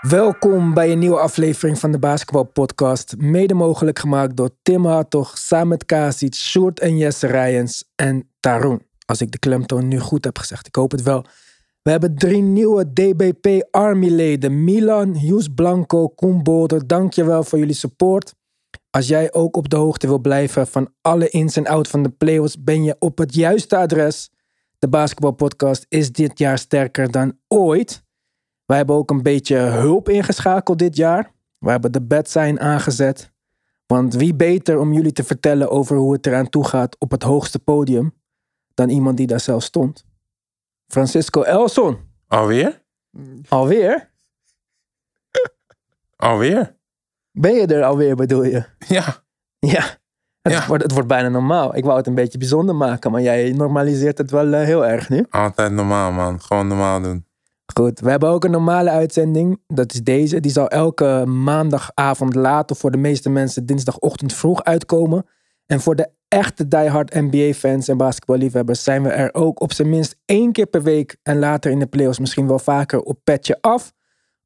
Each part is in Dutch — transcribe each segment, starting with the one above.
Welkom bij een nieuwe aflevering van de Basketbal Podcast. Mede mogelijk gemaakt door Tim Hartog, Samet Kasic, Sjoerd en Jesse Rijens en Tarun. Als ik de klemtoon nu goed heb gezegd, ik hoop het wel. We hebben drie nieuwe DBP Army-leden. Milan, Hughes Blanco, Koen Bolder, dankjewel voor jullie support. Als jij ook op de hoogte wil blijven van alle ins en outs van de playoffs, ben je op het juiste adres. De Basketbal Podcast is dit jaar sterker dan ooit. Wij hebben ook een beetje hulp ingeschakeld dit jaar. We hebben de bedsign aangezet. Want wie beter om jullie te vertellen over hoe het eraan toe gaat op het hoogste podium dan iemand die daar zelf stond? Francisco Elson. Alweer? Alweer? Alweer? Ben je er alweer, bedoel je? Ja. Ja. Het, Ja. Wordt, het wordt bijna normaal. Ik wou het een beetje bijzonder maken, maar jij normaliseert het wel eh, heel erg nu. Altijd normaal, man. Gewoon normaal doen. Goed, we hebben ook een normale uitzending. Dat is deze. Die zal elke maandagavond later voor de meeste mensen dinsdagochtend vroeg uitkomen. En voor de echte diehard NBA-fans en basketballiefhebbers zijn we er ook op zijn minst één keer per week en later in de playoffs misschien wel vaker op Petje Af.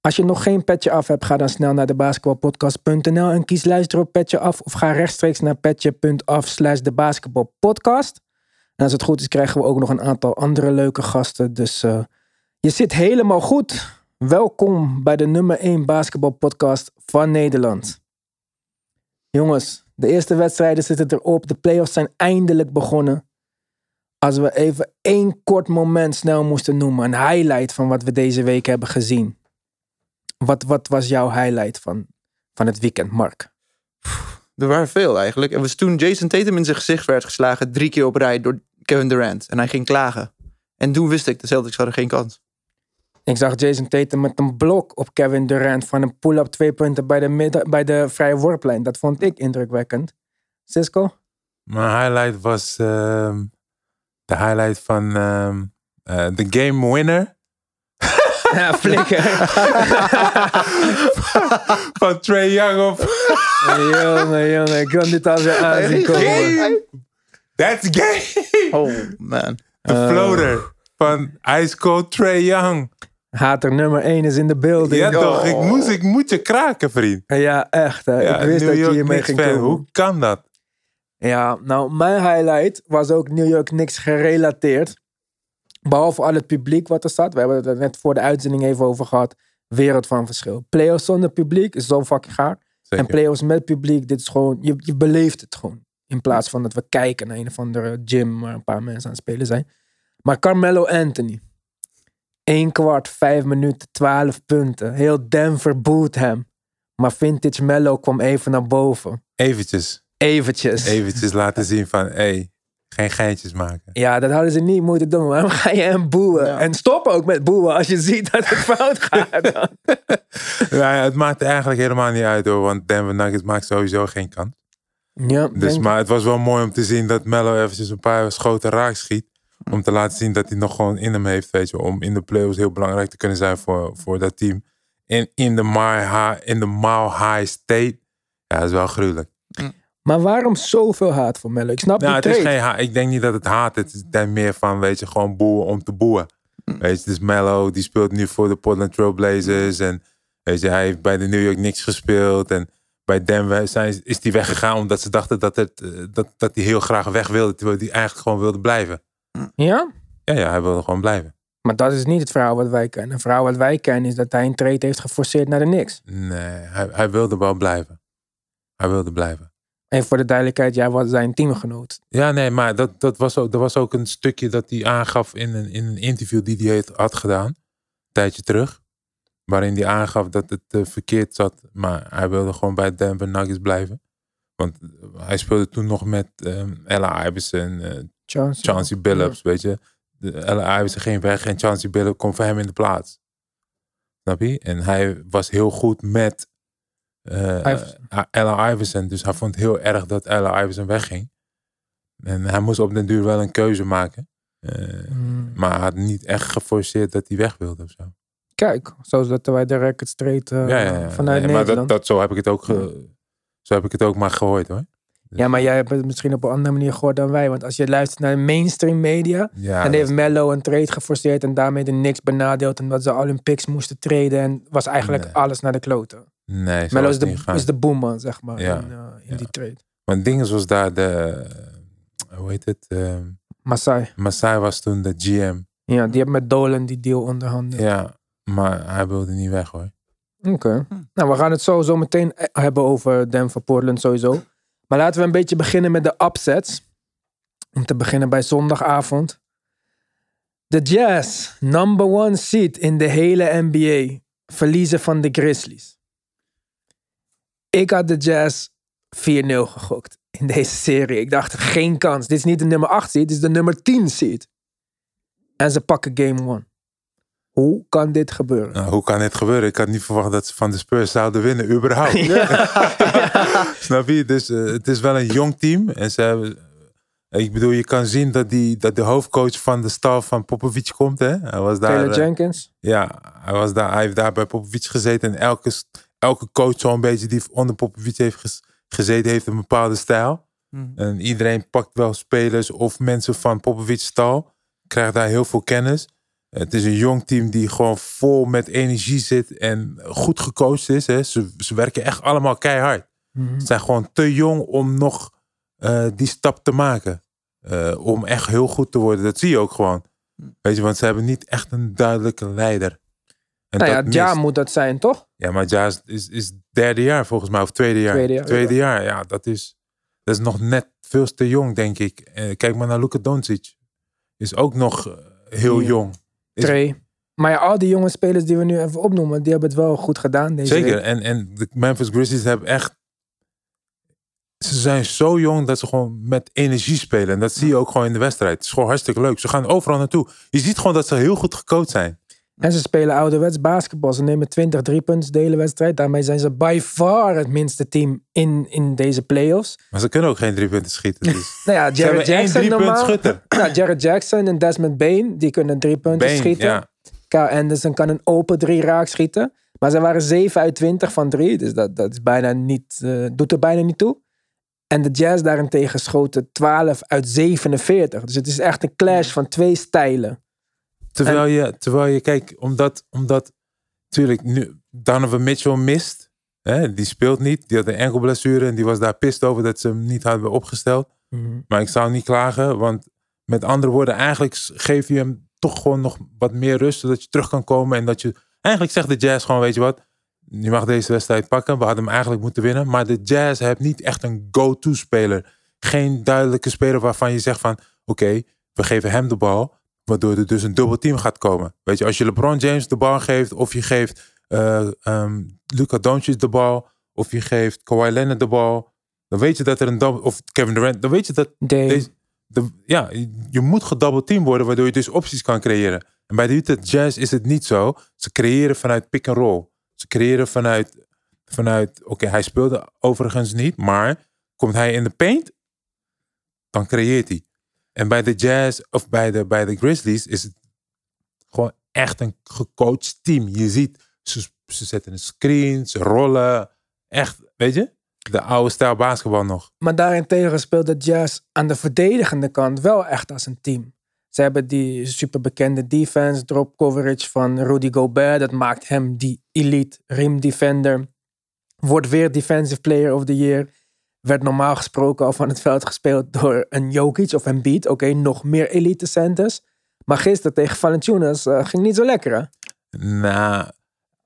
Als je nog geen Petje Af hebt, ga dan snel naar de basketbalpodcast.nl en kies luisteren op Petje Af of ga rechtstreeks naar petje.af slash de basketbalpodcast. En als het goed is, krijgen we ook nog een aantal andere leuke gasten. Dus eh, je zit helemaal goed. Welkom bij de nummer 1 basketbalpodcast van Nederland. Jongens, de eerste wedstrijden zitten erop. De playoffs zijn eindelijk begonnen. Als we even één kort moment snel moesten noemen, een highlight van wat we deze week hebben gezien. Wat, wat was jouw highlight van, van het weekend, Mark? Er waren veel eigenlijk. Het was toen Jason Tatum in zijn gezicht werd geslagen drie keer op rij door Kevin Durant. En hij ging klagen. En toen wist ik, de Celtics hadden geen kans. Ik zag Jason Tatum met een blok op Kevin Durant van een pull-up twee punten bij de, midden, bij de vrije worplijn. Dat vond ik indrukwekkend. Cisco? Mijn highlight was ehm, de highlight van ehm, eh, de game winner Ja, flikker. van Trey Young op jongen, jongen, ik kan dit alweer aanzien komen. Game. That's game. Oh man. De Eh. floater van Ice Cold Trey Young. Hater nummer 1 is in de Ja building. Ja, toch, ik, moest, ik moet je kraken, vriend. echt. Hè. Ja, Oh. ik wist New dat je York hiermee Knicks ging fan. komen. Hoe kan dat? Ja, nou, mijn highlight was ook New York niks gerelateerd. Behalve al het publiek wat er staat. We hebben het er net voor de uitzending even over gehad. Wereld van verschil. Playoffs zonder publiek is zo fucking gaar. En Zeker. playoffs met publiek, dit is gewoon, je, je beleeft het gewoon. In plaats van dat we kijken naar een of andere gym waar een paar mensen aan het spelen zijn. Maar Carmelo Anthony. 1 kwart, 5 minuten, 12 punten. Heel Denver boot hem. Maar Vintage Mello kwam even naar boven. Eventjes, Eventjes. eventjes laten zien van, hey, geen geintjes maken. Ja, dat hadden ze niet moeten doen. Waarom ga je hem boeien? Ja. En stop ook met boeien als je ziet dat het fout gaat. Ja, het maakt eigenlijk helemaal niet uit hoor, want Denver Nuggets maakt sowieso geen kans. ja, Dus, denk- maar het was wel mooi om te zien dat Mello eventjes een paar schoten raak schiet. Om te laten zien dat hij nog gewoon in hem heeft, weet je. Om in de playoffs heel belangrijk te kunnen zijn voor, voor dat team. En in de mile high, in de mile high state. Ja, dat is wel gruwelijk. maar waarom zoveel haat voor Mello? Ik snap Nou, die het is trade. geen haat. Ik denk niet dat het haat is. Het is meer van, weet je, gewoon boeren om te boeren. Mm. Weet je, dus Mello, die speelt nu voor de Portland Trailblazers. En weet je, hij heeft bij de New York Knicks gespeeld. En bij Denver zijn, is hij weggegaan omdat ze dachten dat, het, eh, dat, dat hij heel graag weg wilde. Terwijl hij eigenlijk gewoon wilde blijven. Ja? Ja, ja, hij wilde gewoon blijven. Maar dat is niet het verhaal wat wij kennen. Het verhaal wat wij kennen is dat hij een trade heeft geforceerd naar de Knicks. Nee, hij, hij wilde wel blijven. Hij wilde blijven. En voor de duidelijkheid, jij was zijn teamgenoot. Ja, nee, maar dat, dat was ook, er was ook een stukje dat hij aangaf in een, in een interview die hij heeft, had gedaan. Een tijdje terug. Waarin hij aangaf dat het eh, verkeerd zat. Maar hij wilde gewoon bij Denver Nuggets blijven. Want eh, hij speelde toen nog met ehm, Ella Iverson, eh, Chance. Chauncey Billups, weet je. De, Ella Iverson ging weg en Chauncey Billups kwam voor hem in de plaats. Snap je? En hij was heel goed met eh Iverson. Ella Iverson. Dus hij vond het heel erg dat Ella Iverson wegging. En hij moest op den duur wel een keuze maken. Eh, Hmm. maar hij had niet echt geforceerd dat hij weg wilde of zo. Kijk, zoals dat wij de records trade eh, ja, ja, ja. vanuit Nee, maar Nederland. dat, dat, zo, heb ik het ook ge- zo heb ik het ook maar gehoord hoor. Ja, maar jij hebt het misschien op een andere manier gehoord dan wij. Want als je luistert naar de mainstream media, Ja, dan dat- heeft Mello een trade geforceerd en daarmee de niks benadeeld. Omdat ze Olympics moesten treden en was eigenlijk Nee. alles naar de kloten. nee, zo Mello was is het niet de, gaan. is de boeman, zeg maar, Ja, in, eh, in ja. die trade. Maar het ding is, was daar de... eh, Hoe heet het? ehm Masai, Masai was toen de GM. ja, die heeft met Dolan die deal onderhandeld. Ja, maar hij wilde niet weg hoor. Oké. Nou, we gaan het zo, zo meteen e- hebben over Denver Portland sowieso. Maar laten we een beetje beginnen met de upsets. Om te beginnen bij zondagavond. De Jazz, number one seed in de hele NBA. Verliezen van de Grizzlies. Ik had de Jazz 4-0 gegokt in deze serie. Ik dacht, geen kans. Dit is niet de nummer 8 seed, dit is de nummer 10 seed. En ze pakken game 1. Hoe kan dit gebeuren? Nou, hoe kan dit gebeuren? Ik had niet verwacht dat ze van de Spurs zouden winnen, überhaupt. Snap je? Dus eh, het is wel een jong team. En ze hebben, eh, ik bedoel, je kan zien dat, die, dat de hoofdcoach van de staf van Popovic komt. Hè? Hij was daar. Taylor eh, Jenkins? Ja, hij, was daar, hij heeft daar bij Popovic gezeten. En elke, s- elke coach zo'n beetje die onder Popovic heeft ges- gezeten, heeft een bepaalde stijl. Mhm. En iedereen pakt wel spelers of mensen van Popovic's stal. Krijgt daar heel veel kennis. Het is een jong team die gewoon vol met energie zit en goed gecoacht is. Hè. Ze, ze werken echt allemaal keihard. Mhm. Ze zijn gewoon te jong om nog eh, die stap te maken. Eh, om echt heel goed te worden. Dat zie je ook gewoon. Mhm. Weet je, want ze hebben niet echt een duidelijke leider. En Nou ja, dat Ja mist. moet dat zijn, toch? Ja, maar Ja is, is, is derde jaar volgens mij, of tweede jaar. Tweede jaar, jaar, ja, dat is, dat is nog net veel te jong, denk ik. Eh, kijk maar naar Luka Doncic. Is ook nog eh, heel Ja. jong. Is- Trey. Maar ja, al die jonge spelers die we nu even opnoemen, die hebben het wel goed gedaan deze Zeker. week. En, en de Memphis Grizzlies hebben echt. Ze zijn zo jong dat ze gewoon met energie spelen. En dat zie je ook gewoon in de wedstrijd. Het is gewoon hartstikke leuk. Ze gaan overal naartoe. Je ziet gewoon dat ze heel goed gecoacht zijn. En ze spelen ouderwets basketbal. Ze nemen 20 driepunten de hele wedstrijd. Daarmee zijn ze by far het minste team in, in deze playoffs. Maar ze kunnen ook geen drie punten schieten. Dus. Nou ja, ze Jared hebben één Jackson drie punt normaal. schutter. Ja, Jared Jackson en Desmond Bain, die kunnen drie punten Bane, schieten. ja. Kyle Anderson dus kan een open drie raak schieten. Maar ze waren 7 uit 20 van drie. Dus dat, dat is bijna niet, eh, doet er bijna niet toe. En de Jazz daarentegen schoten 12 uit 47. Dus het is echt een clash van twee stijlen. Terwijl, je, terwijl je, kijk, omdat, omdat natuurlijk nu Donovan Mitchell mist. Hè, die speelt niet. Die had een enkel blessure. En die was daar pist over dat ze hem niet hadden opgesteld. Maar ik zou niet klagen, want met andere woorden, eigenlijk s- geef je hem toch gewoon nog wat meer rust, zodat je terug kan komen en dat je... Eigenlijk zegt de Jazz gewoon, weet je wat, je mag deze wedstrijd pakken, we hadden hem eigenlijk moeten winnen, maar de Jazz heeft niet echt een go-to speler. Geen duidelijke speler waarvan je zegt van, oké, we geven hem de bal, waardoor er dus een dubbel team gaat komen. Weet je, als je LeBron James de bal geeft, of je geeft eh ehm Luca Doncic de bal, of je geeft Kawhi Leonard de bal, dan weet je dat er een dubbel... Of Kevin Durant, dan weet je dat Dame. deze- de, ja, je moet gedoubleteamd team worden, waardoor je dus opties kan creëren. En bij de Utah Jazz is het niet zo. Ze creëren vanuit pick and roll. Ze creëren vanuit, vanuit oké, hij speelde overigens niet, maar komt hij in de paint, dan creëert hij. En bij de Jazz of bij de, bij de Grizzlies is het gewoon echt een gecoacht team. Je ziet, ze, ze zetten een screen, ze rollen. Echt, weet je? De oude stijl basketbal nog. Maar daarentegen speelt de Jazz aan de verdedigende kant wel echt als een team. Ze hebben die superbekende defense, drop coverage van Rudy Gobert. Dat maakt hem die elite rim defender. Wordt weer Defensive Player of the Year. Werd normaal gesproken al van het veld gespeeld door een Jokic of een Beat. Oké, nog meer elite centers. Maar gisteren tegen Valanciunas eh, ging niet zo lekker. hè? Nou,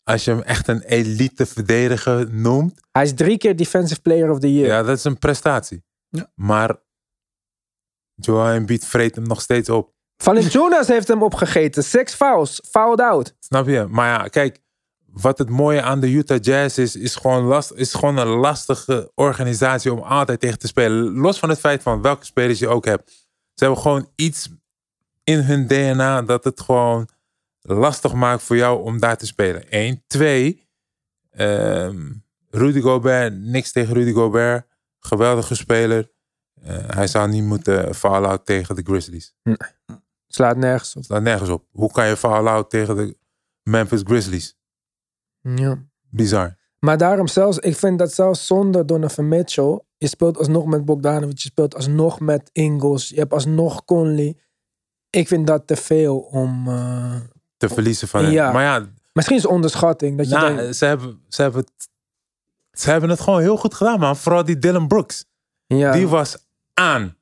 als je hem echt een elite verdediger noemt, Hij is drie keer Defensive Player of the Year. ja, dat is een prestatie. Ja. Maar Joel Embiid vreet hem nog steeds op. Valanciunas heeft hem opgegeten. Six fouls, fouled out. Snap je? Maar ja, kijk, wat het mooie aan de Utah Jazz is, is gewoon, last, is gewoon een lastige organisatie om altijd tegen te spelen. Los van het feit van welke spelers je ook hebt. Ze hebben gewoon iets in hun DNA dat het gewoon lastig maakt voor jou om daar te spelen. Eén. Twee, ehm, Rudy Gobert, niks tegen Rudy Gobert. Geweldige speler. Eh, hij zou niet moeten fallout tegen de Grizzlies. Slaat nergens op. Het slaat nergens op. Hoe kan je fallout tegen de Memphis Grizzlies? Ja. Bizar. Maar daarom zelfs, ik vind dat zelfs zonder Donovan Mitchell, je speelt alsnog met Bogdanovic, je speelt alsnog met Ingles, je hebt alsnog Conley. Ik vind dat te veel om... eh, te verliezen van hem. Ja. Maar ja, Misschien is het onderschatting. Dat je nou, denkt, ze, hebben, ze, hebben het, ze hebben het gewoon heel goed gedaan, man. Vooral die Dylan Brooks. ja, eh, Die was aan.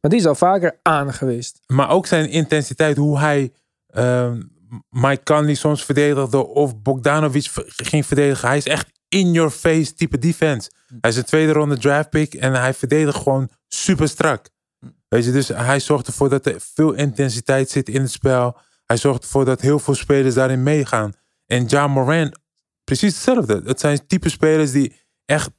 maar die is al vaker aan geweest. Maar ook zijn intensiteit, hoe hij ehm, Mike Conley soms verdedigde of Bogdanovic ver- ging verdedigen. Hij is echt in-your-face type defense. Hij is een tweede ronde draft pick en hij verdedigt gewoon super strak. Weet je, dus hij zorgt ervoor dat er veel intensiteit zit in het spel. Hij zorgt ervoor dat heel veel spelers daarin meegaan. En Ja Moran, precies hetzelfde. Het zijn type spelers die echt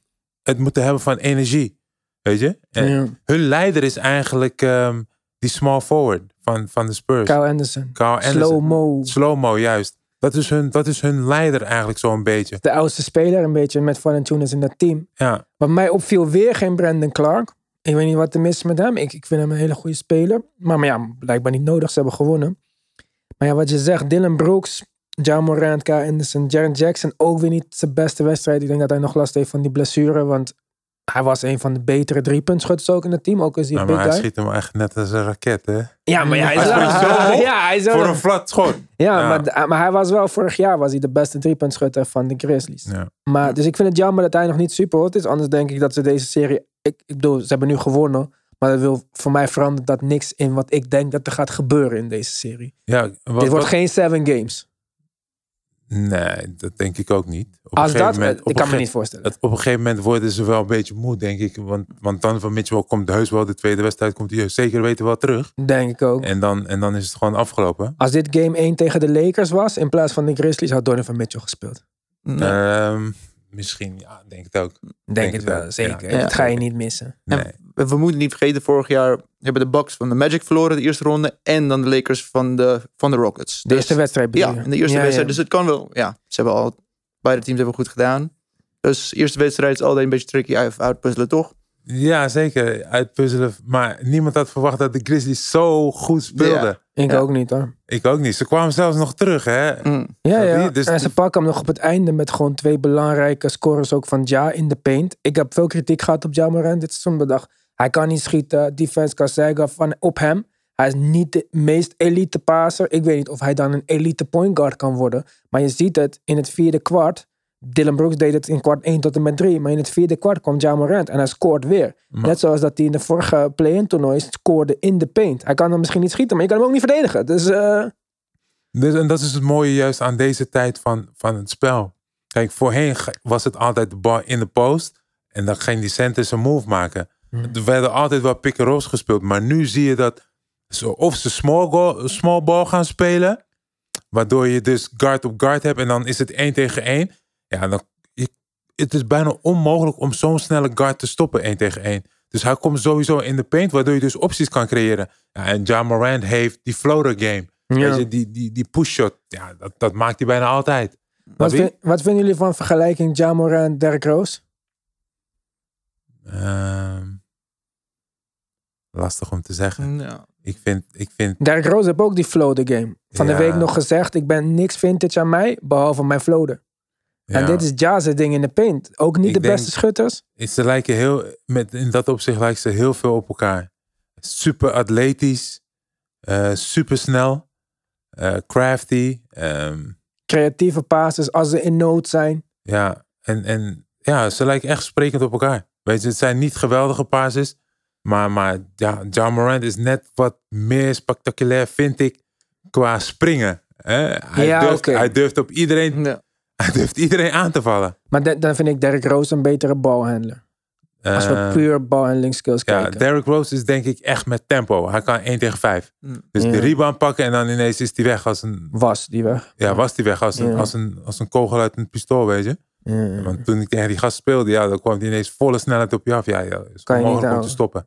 het moeten hebben van energie. Weet je? En, Ja. hun leider is eigenlijk ehm, die small forward van, van de Spurs. Kyle Anderson. Kyle Anderson. Slow-mo. Slow-mo, juist. Dat is, hun, dat is hun leider eigenlijk zo'n beetje. De oudste speler een beetje met Valanciunas in dat team. Ja, nou, Wat mij opviel, weer geen Brandon Clark. Ik weet niet wat er mis is met hem. Ik, ik vind hem een hele goede speler. Maar, maar ja, blijkbaar niet nodig. Ze hebben gewonnen. Maar ja, wat je zegt, Dylan Brooks, John Morant, Kyle Anderson, Jaren Jackson. Ook weer niet zijn beste wedstrijd. Ik denk dat hij nog last heeft van die blessure. Want hij was een van de betere driepuntschutters ook in het team. Ook is hij nou, een maar big hij guy. schiet hem echt net als een raket, hè? Ja, maar ja, hij Hij is wel... scoort zo hoog Ja, hij is wel- Voor een flat schot. ja, Ja. Maar, maar hij was wel vorig jaar was hij de beste driepuntschutter van de Grizzlies. Ja. Maar, dus ik vind het jammer dat hij nog niet super hot is. Anders denk ik dat ze deze serie... Ik, ik bedoel, ze hebben nu gewonnen. Maar dat wil voor mij veranderen dat niks in wat ik denk dat er gaat gebeuren in deze serie. Ja, wat- Dit wordt wat- geen seven games. Nee, dat denk ik ook niet. Op Als een dat... eh, gegeven moment, op Ah, ik een kan me gege- niet voorstellen. het- op een gegeven moment worden ze wel een beetje moe, denk ik. Want, want dan van Mitchell komt heus wel de tweede wedstrijd, komt hij zeker weten wel terug. denk ik ook. En dan, en dan is het gewoon afgelopen. Als dit game 1 tegen de Lakers was... in plaats van de Grizzlies had Donovan Mitchell gespeeld. Nee. Ehm, misschien, ja, denk het ook. Denk, Denk het het wel, ook. zeker. Ja. Dat ga je niet missen. Nee. En we moeten niet vergeten, vorig jaar hebben de Bucks van de Magic verloren de eerste ronde. En dan de Lakers van de, van de Rockets. De Dus- eerste wedstrijd bedoel Ja, je? in de eerste Ja, wedstrijd. ja. Dus het kan wel. Ja, ze hebben al, beide teams hebben goed gedaan. Dus de eerste wedstrijd is altijd een beetje tricky uit- uitpuzzelen, toch? Ja, zeker. Uitpuzzelen. Maar niemand had verwacht dat de Grizzlies zo goed speelden. Ja. Ik Ja. ook niet hoor. Ik ook niet. Ze kwamen zelfs nog terug, hè? Mm. Ja, Snap ja. je? Dus en ze die- pakken hem nog op het einde met gewoon twee belangrijke scores ook van Ja in de paint. Ik heb veel kritiek gehad op Ja Morant dit seizoen. Ik dacht, hij kan niet schieten. Defense kan zeggen van op hem. Hij is niet de meest elite passer. Ik weet niet of hij dan een elite point guard kan worden. Maar je ziet het in het vierde kwart. Dylan Brooks deed het in kwart 1 tot en met 3. Maar in het vierde kwart kwam Ja Morant en hij scoort weer. Maar- Net zoals dat hij in de vorige play-in toernooi scoorde in de paint. Hij kan dan misschien niet schieten, maar je kan hem ook niet verdedigen. Dus eh, Dus, en dat is het mooie juist aan deze tijd van, van het spel. Kijk, voorheen ge- was het altijd de bal in de post. En dan ging die center zijn move maken. Er werden altijd wel pick-and-rolls gespeeld. Maar nu zie je dat ze of ze small, goal, small ball gaan spelen. Waardoor je dus guard op guard hebt. En dan is het één tegen één. Ja, dan, je- het is bijna onmogelijk om zo'n snelle guard te stoppen één tegen één. Dus hij komt sowieso in de paint. Waardoor je dus opties kan creëren. Ja, en Ja Morant heeft die floater game. Weet je, die, die, die push-shot, ja, dat, dat maakt hij bijna altijd. Wat, Snap je? vin- wat vinden jullie van vergelijking Jamora en Derrick Rose? Ehm, lastig om te zeggen. Mm. Ja. Ik vind, ik vind Derrick Rose heeft ook die floater game. Van de Ja. week nog gezegd, ik ben niks vintage aan mij, behalve mijn floater. En ja, dit is Ja's ding in de paint. Ook niet Ik de denk- beste schutters. ze lijken heel, met, in dat opzicht lijken ze heel veel op elkaar. Super atletisch, eh, super snel, eh, crafty. ehm, Creatieve passes als ze in nood zijn. Ja, en, en ja, ze lijken echt sprekend op elkaar. Weet je, het zijn niet geweldige passes. Maar, maar ja, John Morant is net wat meer spectaculair, vind ik, qua springen. hè. Hij, Ja, durft, oké. hij, durft op iedereen, Ja. hij durft iedereen aan te vallen. Maar de- dan vind ik Derrick Rose een betere balhandler. Als we Eh, puur balhandling skills ja, kijken. Derrick Rose is denk ik echt met tempo. Hij kan 1 tegen 5. Mm. Dus Ja. de rebound pakken en dan ineens is hij weg als een... Was die weg. Ja, was hij weg als een, Ja. als, een, als een kogel uit een pistool, weet je. Want toen ik tegen die gast speelde, ja, dan kwam hij ineens volle snelheid op je af. Ja, ja is Kan je niet onmogelijk om te houden. stoppen.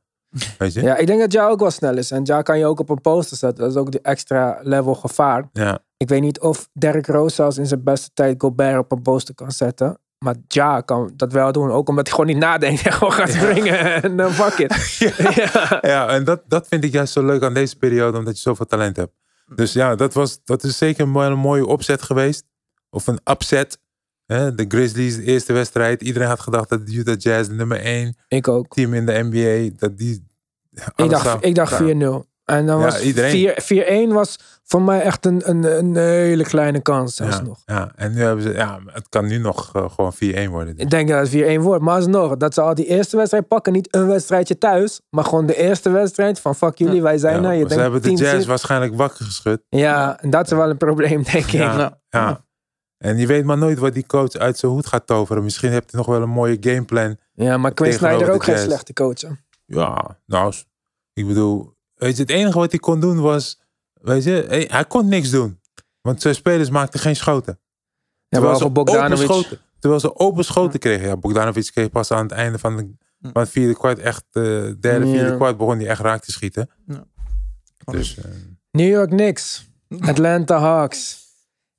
Weet je? Ja. Ja, ik denk dat Ja ook wel snel is. En Ja kan je ook op een poster zetten. Dat is ook die extra level gevaar. Ik weet niet of Derrick Rose zelfs in zijn beste tijd Gobert op een poster kan zetten. Maar Ja kan dat wel doen. Ook omdat hij gewoon niet nadenkt en gewoon gaat springen. En dan fuck it. Ja. Ja, en dat, dat vind ik juist zo leuk aan deze periode, omdat je zoveel talent hebt. Dus ja, dat, was, dat is zeker een mooie, een mooie opzet geweest. Of een upset. Hè, de Grizzlies, de eerste wedstrijd. Iedereen had gedacht dat de Utah Jazz, de nummer 1 Ik ook. team in de NBA, dat die. Ik alles dacht, zou- ik dacht Ja. 4-0. En dan Ja, was iedereen. 4 4-1 was voor mij echt een, een, een hele kleine kans zelfs ja, nog. Ja, en nu hebben ze, ja, het kan nu nog eh, gewoon 4-1 worden. Ik denk dat het 4-1 wordt. Maar alsnog, dat ze al die eerste wedstrijd pakken. Niet een wedstrijdje thuis, maar gewoon de eerste wedstrijd van fuck jullie, wij zijn Ja, er. Je ze denkt, hebben de team Jazz zit- waarschijnlijk wakker geschud. Ja, en dat is wel een probleem, denk ik. Nou, Ja. Ja. En je weet maar nooit wat die coach uit zijn hoed gaat toveren. Misschien hebt hij nog wel een mooie gameplan. Ja, maar Quinn Tegenover Snyder de ook geen Jazz. slechte coach. hè? Ja, nou, s- ik bedoel, weet je, het enige wat hij kon doen was, weet je, hij, hij kon niks doen. Want zijn spelers maakten geen schoten. Ja, behalve open Bogdanovic. schoten, terwijl ze open schoten kregen. Ja, Bogdanovic kreeg pas aan het einde van, de, van het vierde kwart echt, eh, derde, vierde Hm. Ja. kwart begon hij echt raak te schieten. Ja. Dus, eh, New York Knicks. Atlanta Hawks.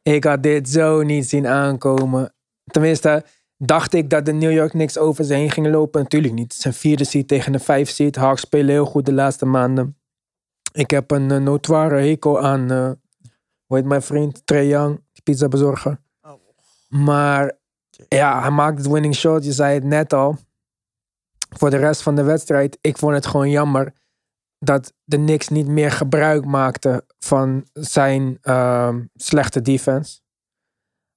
Ik had dit zo niet zien aankomen. Tenminste, dacht ik dat de New York Knicks over ze heen gingen lopen. Natuurlijk niet. Het is een vierde seed tegen een vijf seed. Hawks spelen heel goed de laatste maanden. Ik heb een eh, notoire hekel aan, eh hoe heet mijn vriend? Trae Young, die pizzabezorger. Oh. Maar ja, hij maakt het winning shot. Je zei het net al. Voor de rest van de wedstrijd, ik vond het gewoon jammer dat de Knicks niet meer gebruik maakten van zijn ehm, slechte defense.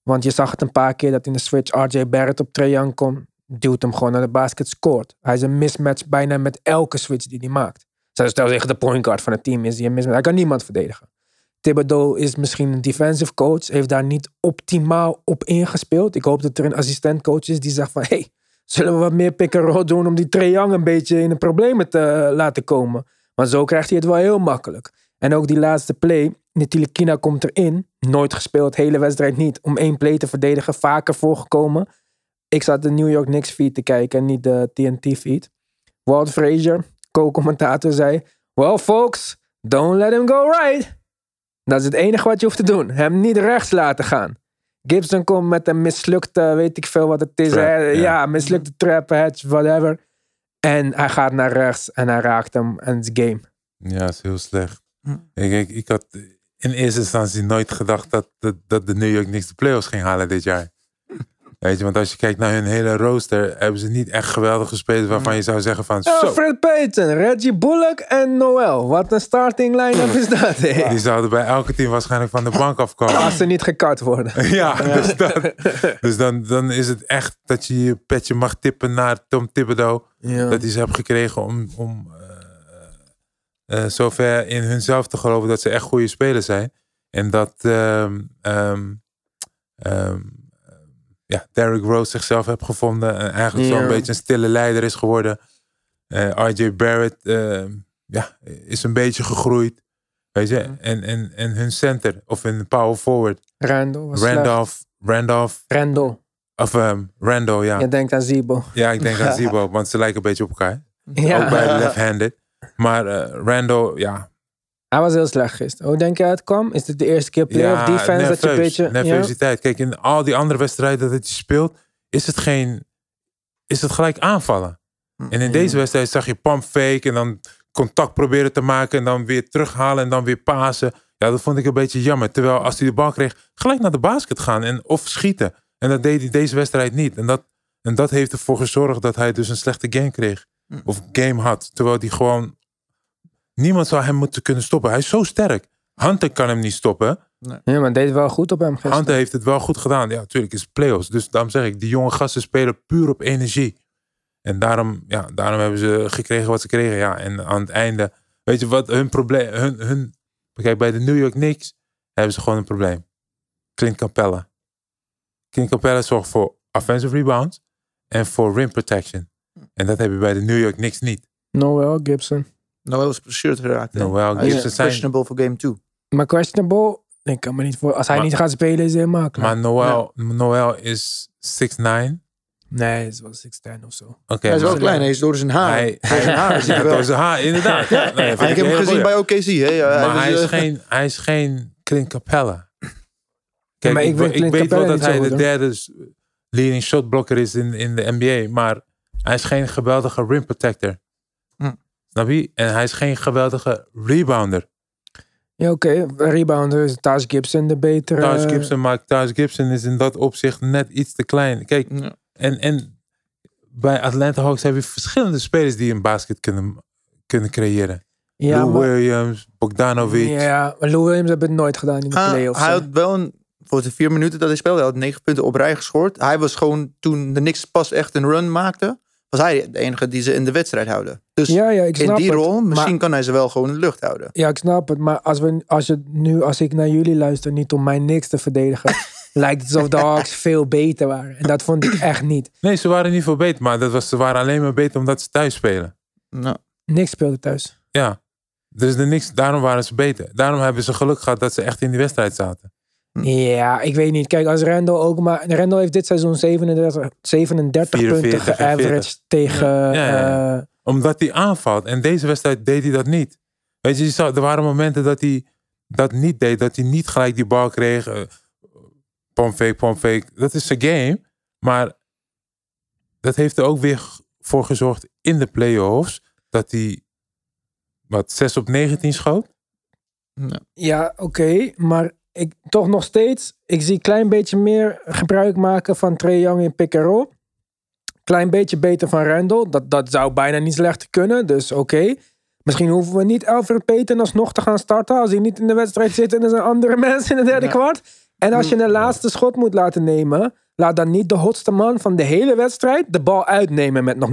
Want je zag het een paar keer dat in de switch RJ Barrett op Trae Young komt. Duwt hem gewoon naar de basket, scoort. Hij is een mismatch bijna met elke switch die hij maakt. Zelfs stel tegen de point guard van het team is hij een mismatch. Hij kan niemand verdedigen. Thibodeau is misschien een defensive coach. Heeft daar niet optimaal op ingespeeld. Ik hoop dat er een assistent coach is die zegt van... Hey, zullen we wat meer pick-and-roll doen om die Trae Young een beetje in de problemen te eh, laten komen? Maar zo krijgt hij het wel heel makkelijk. En ook die laatste play, Ntilikina komt erin. Nooit gespeeld, hele wedstrijd niet. Om één play te verdedigen, vaker voorgekomen. Ik zat de New York Knicks feed te kijken en niet de TNT feed. Walt Frazier, co-commentator, zei... Well folks, don't let him go right. Dat is het enige wat je hoeft te doen. Hem niet rechts laten gaan. Gibson komt met een mislukte, weet ik veel wat het is. Trap, hè? ja. ja, mislukte trap, hedge, whatever. En hij gaat naar rechts en hij raakt hem en het is game. Ja, is heel slecht. Hm. Ik, ik, ik had in eerste instantie nooit gedacht dat, dat, dat de New York Knicks de playoffs ging halen dit jaar. Weet je, want als je kijkt naar hun hele rooster, hebben ze niet echt geweldige spelers waarvan je zou zeggen van zo, Alfred Eh, Payton, Reggie Bullock en Noel. Wat een starting line-up is dat. hé. die zouden bij elke team waarschijnlijk van de bank afkomen. Als ze niet gekart worden. Ja, dus, dan, dus dan, dan is het echt dat je je petje mag tippen naar Tom Thibodeau. Dat hij ze hebt gekregen om, om eh, eh, zover in hunzelf te geloven dat ze echt goede spelers zijn. En dat ehm, ehm, ehm, ja, Derrick Rose zichzelf heeft gevonden. En eigenlijk Ja. zo'n beetje een stille leider is geworden. Eh, RJ Barrett ehm, ja, is een beetje gegroeid. Weet je? En, en, en hun center, of hun power forward, Randall was slecht. Randolph, Randolph, Randall. of ehm Randall, ja. Je denkt aan Zibo. Ja, ik denk aan Zibo, want ze lijken een beetje op elkaar. Ook Ja. bij de left-handed. Maar eh Randall, ja. Hij was heel slecht gisteren. Hoe denk je dat het kwam? Is dit de eerste keer playoff ja, defense dat je een beetje... ja? Nervositeit. Kijk, in al die andere wedstrijden dat je speelt, is het geen... Is het gelijk aanvallen. En in deze wedstrijd zag je pump fake en dan contact proberen te maken en dan weer terughalen en dan weer pasen. Ja, dat vond ik een beetje jammer. Terwijl als hij de bal kreeg, gelijk naar de basket gaan en of schieten. En dat deed hij deze wedstrijd niet. En dat, en dat heeft ervoor gezorgd dat hij dus een slechte game kreeg. Of game had. Terwijl hij gewoon... Niemand zou hem moeten kunnen stoppen. Hij is zo sterk. Hunter kan hem niet stoppen. Ja, maar het deed wel goed op hem gisteren. Hunter heeft het wel goed gedaan. Ja, natuurlijk is het playoffs. Dus daarom zeg ik, die jonge gasten spelen puur op energie. En daarom, ja, daarom hebben ze gekregen wat ze kregen. Ja, en aan het einde, weet je wat hun probleem, hun, hun, kijk bij de New York Knicks hebben ze gewoon een probleem. Clint Capella. Clint Capella zorgt voor offensive rebounds en voor rim protection. En dat heb je bij de New York Knicks niet. Noel Gibson. Noel is geblesseerd geraakt. hè? Noel Hij is Gibson zijn- questionable voor game 2. Maar questionable... Ik kan me niet voor... Als hij Maar- niet gaat spelen is hij helemaal klaar. Maar Noel, Noel is 6'9". Nee, het is wel 6'10 of zo. Oké, Hij is wel maar- klein, hij is door zijn haar. Hij- Door zijn haar is hij Ja, er wel. door zijn haar, inderdaad. Ja, nee, vind ik een heb hem hele goeie. gezien bij OKC. Hè? Ja, maar hij dus, is, eh, geen, hij is geen Clint Capella. Kijk, maar ik ik, vind ik, Clint weet wel Capella dat niet zo hij goed, de hoor. derde s- leading shotblokker is in, in de NBA, maar hij is geen geweldige rim protector. Hm. Snap je? En hij is geen geweldige rebounder. Ja, oké. Rebounder is Taj Gibson de betere. Thijs Gibson, maar Thijs Gibson is in dat opzicht net iets te klein. Kijk, Ja. en, en bij Atlanta Hawks heb je verschillende spelers die een basket kunnen, kunnen creëren. Ja, Lou maar- Williams, Bogdanovic. Ja, maar Lou Williams hebben het nooit gedaan in de Ah, playoffs. hij hè. had wel een, voor de vier minuten dat hij speelde, hij had negen punten op rij gescoord. Hij was gewoon, toen de Knicks pas echt een run maakte, was hij de enige die ze in de wedstrijd houden. Dus ja, ja, ik in snap die het. rol, misschien Maar, kan hij ze wel gewoon in de lucht houden. ja, ik snap het. Maar als, we, als, je nu, als ik naar jullie luister, niet om mij niks te verdedigen, lijkt het alsof de Hawks veel beter waren. En dat vond ik echt niet. Nee, ze waren niet veel beter, maar dat was, ze waren alleen maar beter omdat ze thuis spelen. Nou, Niks speelde thuis. Ja. Dus de Knicks, daarom waren ze beter. Daarom hebben ze geluk gehad dat ze echt in die wedstrijd zaten. Ja, ik weet niet. Kijk, als Randall ook maar... Randall heeft dit seizoen 37, 37 punten 44 en 40. geaveraged tegen... Ja, ja, eh, Omdat hij aanvalt. En deze wedstrijd deed hij dat niet. Weet je, je zag, er waren momenten dat hij dat niet deed. Dat hij niet gelijk die bal kreeg. eh, Pump fake, pump fake. Dat is zijn game. Maar dat heeft er ook weer g- voor gezorgd in de playoffs. Dat hij, wat, 6 op 19 schoot? nou. Ja, oké, maar ik, toch nog steeds. Ik zie een klein beetje meer gebruik maken van Trae Young in pick and roll. Klein beetje beter van Randall. Dat, dat zou bijna niet slechter kunnen, dus oké. Misschien hoeven we niet Alfred Payton alsnog te gaan starten. Als hij niet in de wedstrijd zit en er zijn andere mensen in het derde Ja. kwart. En als je een laatste schot moet laten nemen... laat dan niet de hotste man van de hele wedstrijd... de bal uitnemen met nog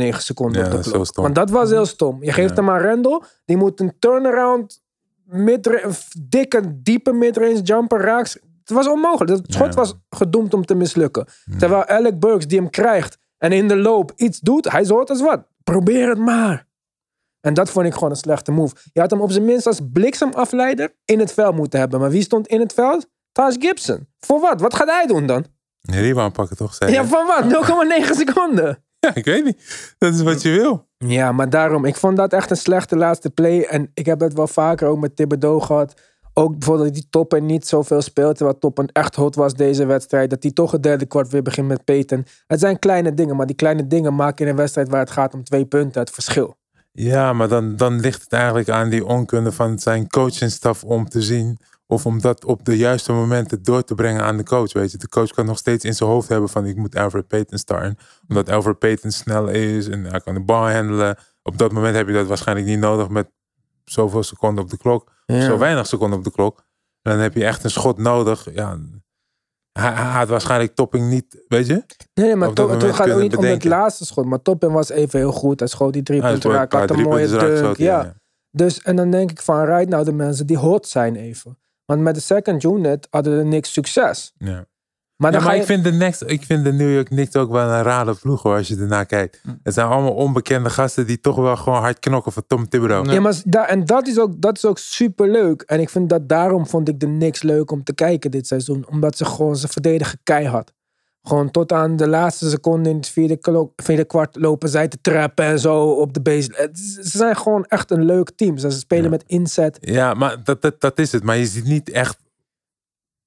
0,9 seconden Ja, op de dat is klok. heel stom. Want dat was heel stom. Je geeft Ja. hem aan Randall. Die moet een turnaround midra- een f- dikke, diepe midrange jumper raaks. Het was onmogelijk. Dat schot Ja. was gedoemd om te mislukken. Terwijl Alec Burks die hem krijgt en in de loop iets doet, hij hoort als wat. Probeer het maar. En dat vond ik gewoon een slechte move. Je had hem op zijn minst als bliksemafleider in het veld moeten hebben. Maar wie stond in het veld? Taj Gibson. Voor wat? Wat gaat hij doen dan? Rebound pakken toch? Zei Ja, hij. van wat? 0,9 seconden. ja, ik weet niet. Dat is wat je wil. Ja, maar daarom. Ik vond dat echt een slechte laatste play. En ik heb dat wel vaker ook met Thibodeau gehad. Ook bijvoorbeeld dat die Toppen niet zoveel speelt. Terwijl Toppen echt hot was deze wedstrijd. Dat hij toch het derde kwart weer begint met Peyton. Het zijn kleine dingen. Maar die kleine dingen maken in een wedstrijd waar het gaat om twee punten het verschil. Ja, maar dan, dan ligt het eigenlijk aan die onkunde van zijn coach en staf om te zien. Of om dat op de juiste momenten door te brengen aan de coach. Weet je, de coach kan nog steeds in zijn hoofd hebben van ik moet Alfred Payton starten. Omdat Alfred Payton snel is en hij kan de bal handelen. Op dat moment heb je dat waarschijnlijk niet nodig met zoveel seconden op de klok. of Zo weinig seconden op de klok. En dan heb je echt een schot nodig. Ja, hij, hij had waarschijnlijk topping niet, weet je? Nee, nee, maar Op dat to- het moment gaat ook kunnen niet om het bedenken. laatste schot. Maar Toppen was even heel goed. Hij schoot die drie Hij punten is een raak. paar Had een drie mooie punten eruit dunk. geschoten, ja. Dus, en dan denk ik van, rijd nou de mensen die hot zijn even. Want met de second unit hadden we niks succes. ja. ja. Maar, Ja, dan maar ga je... ik, vind de next, ik vind de New York Knicks ook wel een rare ploeg hoor, als je ernaar kijkt. Hm. Het zijn allemaal onbekende gasten die toch wel gewoon hard knokken voor Tom Thibodeau. Ja, maar da- en dat is, ook, dat is ook super leuk. En ik vind dat daarom vond ik de niks leuk om te kijken dit seizoen. Omdat ze gewoon ze verdedigen keihard. Gewoon tot aan de laatste seconde in het vierde, klo- vierde kwart lopen zij te trappen en zo op de base. Het is- Ze zijn gewoon echt een leuk team. Ze spelen met inzet. Ja, maar dat, dat, dat is het. Maar je ziet niet echt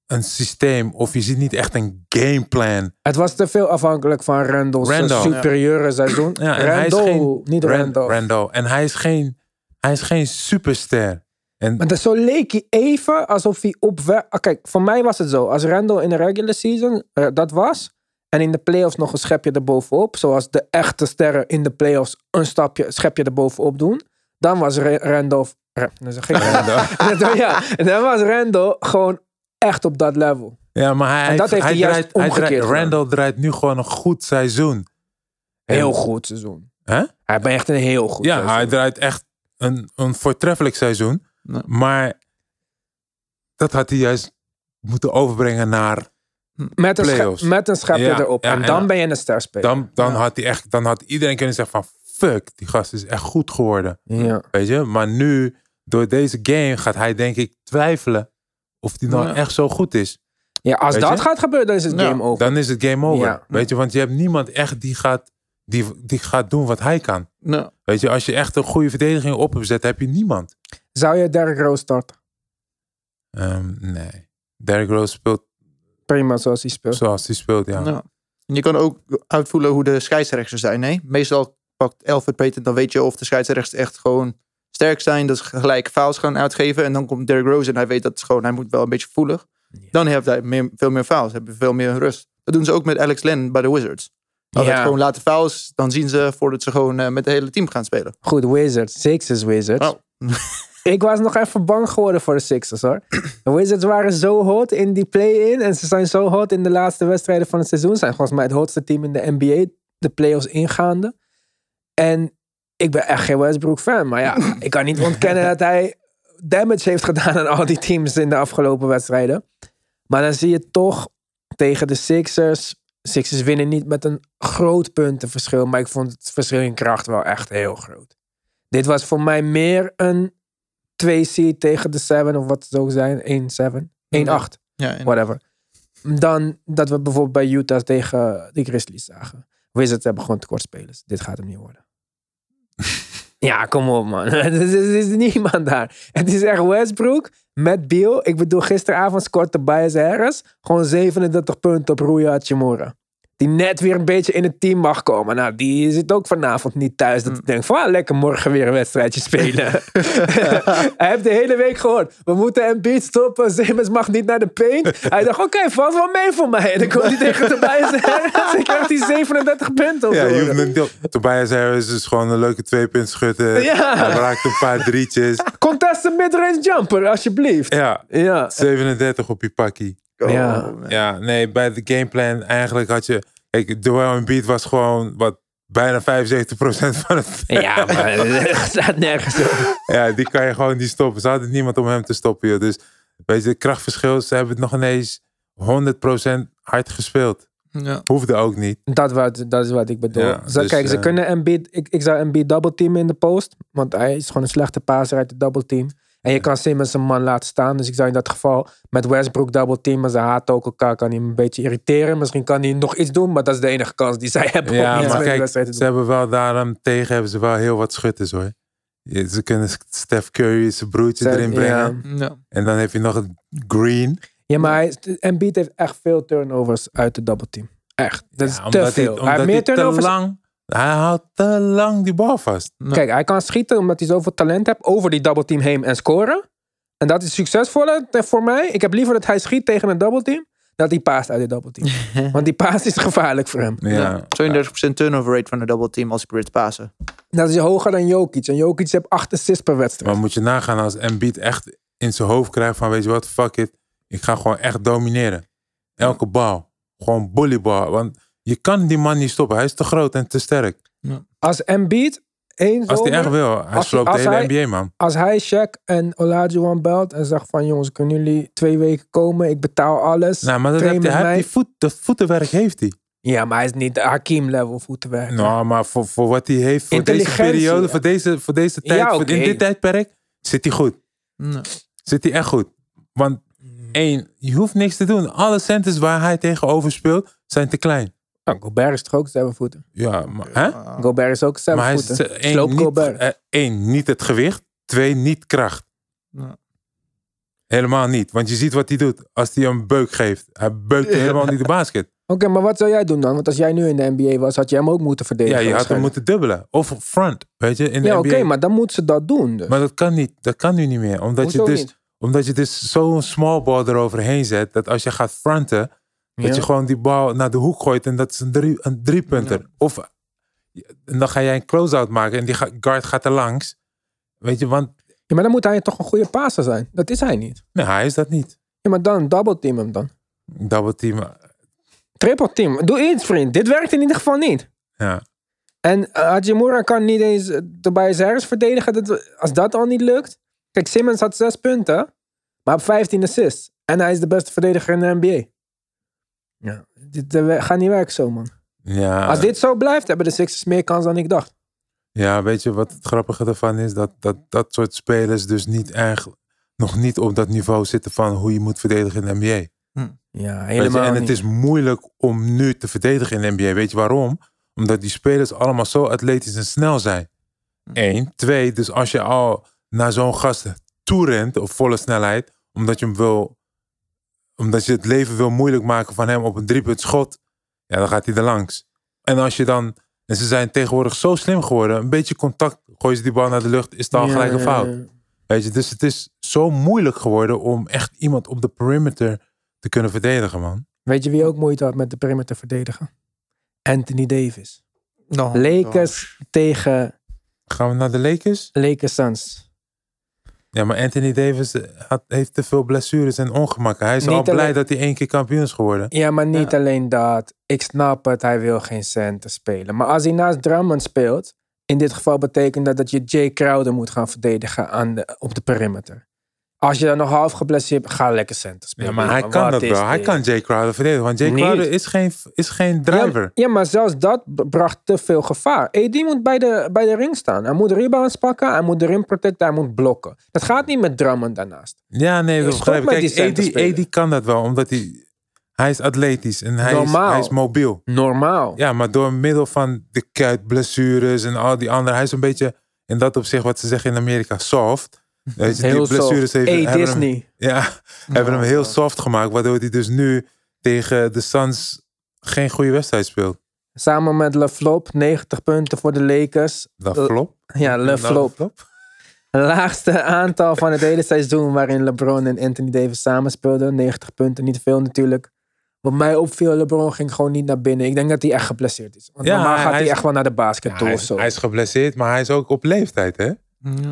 een systeem of je ziet niet echt een gameplan. Het was te veel afhankelijk van Randall's eh, Randall. superieure seizoen. Ja, en hij is Randall, geen- niet Ran- Randall. Randall. En hij is geen, hij is geen superster. En Maar dat, zo leek hij even alsof hij op weg... Ah, Kijk, voor mij was het zo. Als Randall in de regular season eh, dat was... en in de playoffs nog een schepje erbovenop... zoals de echte sterren in de playoffs een stapje, schepje erbovenop doen... dan was Ra- Randall... Ra- dat is geen Randall. ja, dan was Randall gewoon echt op dat level. ja, maar hij, En dat heeft hij juist draait, hij draait- omgekeerd gedaan. Randall draait nu gewoon een goed seizoen. En- Heel goed seizoen. Hè? Hij bent echt een heel goed Ja, seizoen. hij draait echt een, een voortreffelijk seizoen. Ja. Maar dat had hij juist moeten overbrengen naar... Met een, sche- playoffs. met een schepje Ja, erop. ja, en en dan dan- ben je een sterspeler. Dan, dan, Ja. had hij echt, dan had iedereen kunnen zeggen van... Fuck, die gast is echt goed geworden. Ja. Weet je? Maar nu, door deze game, gaat hij denk ik twijfelen... of die nou Ja. echt zo goed is. ja, als Weet dat je? gaat gebeuren, dan is het Ja, game over. Dan is het game over. Ja. Weet je? Want je hebt niemand echt die gaat, die, die gaat doen wat hij kan. Nou, Weet je? Als je echt een goede verdediging op hebt zet, heb je niemand. Zou je Derrick Rose starten? Ehm, nee. Derrick Rose speelt Prima zoals hij speelt. zoals hij speelt, ja. nou. En je kan ook uitvoelen hoe de scheidsrechters zijn. Nee? Meestal pakt Alfred Payton, dan weet je of de scheidsrechter echt gewoon sterk zijn. Dat is gelijk fouls gaan uitgeven. En dan komt Derrick Rose en hij weet dat het gewoon, hij moet wel een beetje voelig. Dan heeft hij meer, veel meer fouls, hebben veel meer rust. Dat doen ze ook met Alex Len bij de Wizards. Als Ja. het gewoon laten fouls, dan zien ze voordat ze gewoon eh, met het hele team gaan spelen. Goed, Wizards. Sixers Wizards. Oh. Ik was nog even bang geworden voor de Sixers hoor. De Wizards waren zo hot in die play-in. En ze zijn zo hot in de laatste wedstrijden van het seizoen. Ze zijn volgens mij het hotste team in de NBA. De playoffs ingaande. En ik ben echt geen Westbrook fan. Maar ja, ik kan niet ontkennen dat hij damage heeft gedaan aan al die teams in de afgelopen wedstrijden. Maar dan zie je toch tegen de Sixers. Sixers winnen niet met een groot puntenverschil. Maar ik vond het verschil in kracht wel echt heel groot. Dit was voor mij meer een 2C tegen de 7 of wat het ook zijn, 1-7, 1-8, Ja, en- whatever. Dan dat we bijvoorbeeld bij Utah tegen de Grizzlies zagen. Wizards hebben gewoon tekortspelers. Dit gaat hem niet worden. ja, kom op man. Er is, er is niemand daar. Het is echt Westbrook met Beal. Ik bedoel, gisteravond scoorde Bias Harris gewoon 37 punten op Rui Hachimura. Die net weer een beetje in het team mag komen. Nou, die zit ook vanavond niet thuis. Mm. Dat hij denkt van, ah, lekker morgen weer een wedstrijdje spelen. Hij heeft de hele week gehoord. We moeten Embiid stoppen. Simmons mag niet naar de paint. Hij dacht, oké, valt wel mee voor mij. En dan komt hij tegen Tobias Harris. Ik heb die 37 punten op Ja, de je oren. hoeft niet- Tobias Harris is gewoon een leuke tweepunt schutter. Ja. Hij raakt een paar drietjes. Contest een midrange jumper, alsjeblieft. Ja, Ja. 37 op je pakkie. Oh, Ja. man. Ja, nee, bij de gameplan eigenlijk had je... Kijk, Joel Embiid was gewoon wat, bijna 75% van het... Ja, maar het staat nergens op. Ja, die kan je gewoon niet stoppen. Ze hadden niemand om hem te stoppen, joh. Dus weet je, het krachtverschil, ze hebben het nog ineens 100% hard gespeeld. Ja. Hoefde ook niet. Dat, wat, dat is wat ik bedoel. Ja, Ze- dus, kijk, ze eh, kunnen Embiid... Ik, ik zou Embiid double teamen in de post. Want hij is gewoon een slechte passer uit de double team. En je kan Simmons een man laten staan. Dus ik zou in dat geval met Westbrook double teamen. Ze haten ook elkaar. Kan hij hem een beetje irriteren. Misschien kan hij nog iets doen. Maar dat is de enige kans die zij hebben. om Ja, iets maar met de kijk, wedstrijd te doen. ze hebben wel daarom tegen hebben ze wel heel wat schutters hoor. Ja, Ze kunnen Steph Curry zijn broertje Ze- erin ja. brengen. Ja. En dan heb je nog het Green. Ja, maar hij, Embiid heeft echt veel turnovers uit de double team. Echt. Dat is Ja, te veel. hij Hij, heeft omdat meer hij te turnovers. lang, hij houdt te lang die bal vast. Kijk, hij kan schieten omdat hij zoveel talent heeft over die double team heen en scoren. En dat is succesvoller te- voor mij. Ik heb liever dat hij schiet tegen een double team dat hij paast uit de double team. Want die paas is gevaarlijk voor hem. Ja. Ja. 32% turnover rate van de double team als hij probeert te passen. Dat is hoger dan Jokic. En Jokic heeft 8 assists per wedstrijd. Maar moet je nagaan als Embiid echt in zijn hoofd krijgt van weet je wat, fuck it. Ik ga gewoon echt domineren. Elke bal. Gewoon bullybal. Want je kan die man niet stoppen. Hij is te groot en te sterk. Als Embiid één Als hij zomer- echt wil, hij als- sloopt de als hele hij- NBA man. als hij Shaq en Olajuwon belt en zegt van jongens, kunnen jullie twee weken komen? Ik betaal alles. Nou, maar dat Train heeft met hij, hij mij. heeft die voet, dat voetenwerk heeft hij. Ja, maar hij is niet Hakim-level voetenwerk. Nou, maar voor, voor wat hij heeft, voor deze Intelligentie, periode, ja. voor, deze, voor deze tijd, Ja, voor- oké. Nou. in dit tijdperk, zit hij goed. Zit hij echt goed. Want Mm. één, je hoeft niks te doen. Alle centers waar hij tegenover speelt, zijn te klein. Nou, Gobert is toch ook zeven voeten? Ja, maar, hè? Gobert is ook zeven Nou. maar hij is voeten. eh, één, Sloop niet, Gobert. eh, één, niet het gewicht. Twee, niet kracht. Ja. Helemaal niet. Want je ziet wat hij doet. Als hij een beuk geeft, hij beukt Ja. helemaal niet de basket. Oké, maar wat zou jij doen dan? Want als jij nu in de NBA was, had jij hem ook moeten verdedigen. Ja, je had hem waarschijnlijk. moeten dubbelen. Of front, weet je, in de Ja, NBA. oké, maar dan moeten ze dat doen. Dus. Maar dat kan niet. Dat kan nu niet meer. Omdat Hoezo je dus, niet? omdat je dus zo'n small ball eroverheen zet. Dat als je gaat fronten. Ja. Dat je gewoon die bal naar de hoek gooit. En dat is een, drie, een driepunter. Of en dan ga jij een close-out maken. En die ga- guard gaat er langs. Weet je, want Ja, maar dan moet hij toch een goede passer zijn. Dat is hij niet. nee, hij is dat niet. Ja, maar dan double team hem dan. Double team. Triple team. Doe iets, vriend. Dit werkt in ieder geval niet. Ja. En eh, Hachimura kan niet eens eh, Tobias Harris verdedigen. Dat, als dat al niet lukt. Kijk, Simmons had zes punten, maar 15 assists. En hij is de beste verdediger in de NBA. Ja. Dit eh, gaat niet werken zo, man. Ja, Als dit zo blijft, hebben de Sixers meer kans dan ik dacht. ja, weet je wat het grappige ervan is? Dat dat, dat soort spelers dus niet echt, nog niet op dat niveau zitten van hoe je moet verdedigen in de NBA. Ja, Weet je, helemaal en het is moeilijk om nu te verdedigen in de NBA. Weet je waarom? Omdat die spelers allemaal zo atletisch en snel zijn. Eén. Twee, dus als je al naar zo'n gast toe rent op volle snelheid, omdat je hem wil, omdat je het leven wil moeilijk maken van hem op een driepunt schot, ja, dan gaat hij er langs. En als je dan, en ze zijn tegenwoordig zo slim geworden, een beetje contact Gooi ze die bal naar de lucht, is het al gelijk een eh, fout. Weet je, dus het is zo moeilijk geworden om echt iemand op de perimeter te kunnen verdedigen, man. Weet je wie ook moeite had met de perimeter verdedigen? Anthony Davis. No, Lakers tegen Gaan we naar de Lakers? Lakers Suns. Ja, maar Anthony Davis eh, had, heeft te veel blessures en ongemakken. Hij is Niet al blij alleen- dat hij één keer kampioen is geworden. Ja, maar niet alleen dat. Ik snap het, hij wil geen centen spelen. Maar als hij naast Drummond speelt, in dit geval betekent dat dat je Jay Crowder moet gaan verdedigen aan de, op de perimeter. Als je dan nog half geblesseerd bent, ga lekker centen spelen. Ja, maar hij kan wat dat is wel. Hij dit? kan Jay Crowder verdedigen. Want Jay Niet. Crowder is geen, is geen Ja, driver. ja, maar zelfs dat b- bracht te veel gevaar. AD moet bij de, bij de ring staan. Hij moet rebounds pakken, hij moet de rim protecten, hij moet blokken. Dat gaat niet met Drummond daarnaast. Ja, nee, dat Stop begrijp ik. met die Kijk, center AD, spelen. AD kan dat wel, omdat hij, hij is atletisch en hij is, Normaal. hij is mobiel. Normaal. Ja, maar door middel van de kuit, blessures en al die andere... Hij is een beetje, in dat opzicht wat ze zeggen in Amerika, soft. Weet je, dus die Heel soft. blessures heeft- Hey, hebben hem- Disney. Ja, hebben hem heel soft gemaakt, waardoor hij dus nu tegen de Suns geen goede wedstrijd speelt. Samen met LeFlop, 90 punten voor de Lakers. Dat Eh, flop. Nou. Ja, LeFlop. Laagste aantal van het hele seizoen waarin LeBron en Anthony Davis samen speelden. 90 punten, niet veel natuurlijk. Wat mij opviel, LeBron ging gewoon niet naar binnen. Ik denk dat hij echt geblesseerd is. Want Ja, normaal hij- gaat hij, hij is- echt wel naar de basket toe hij, of is, zo. hij is geblesseerd, maar hij is ook op leeftijd, hè?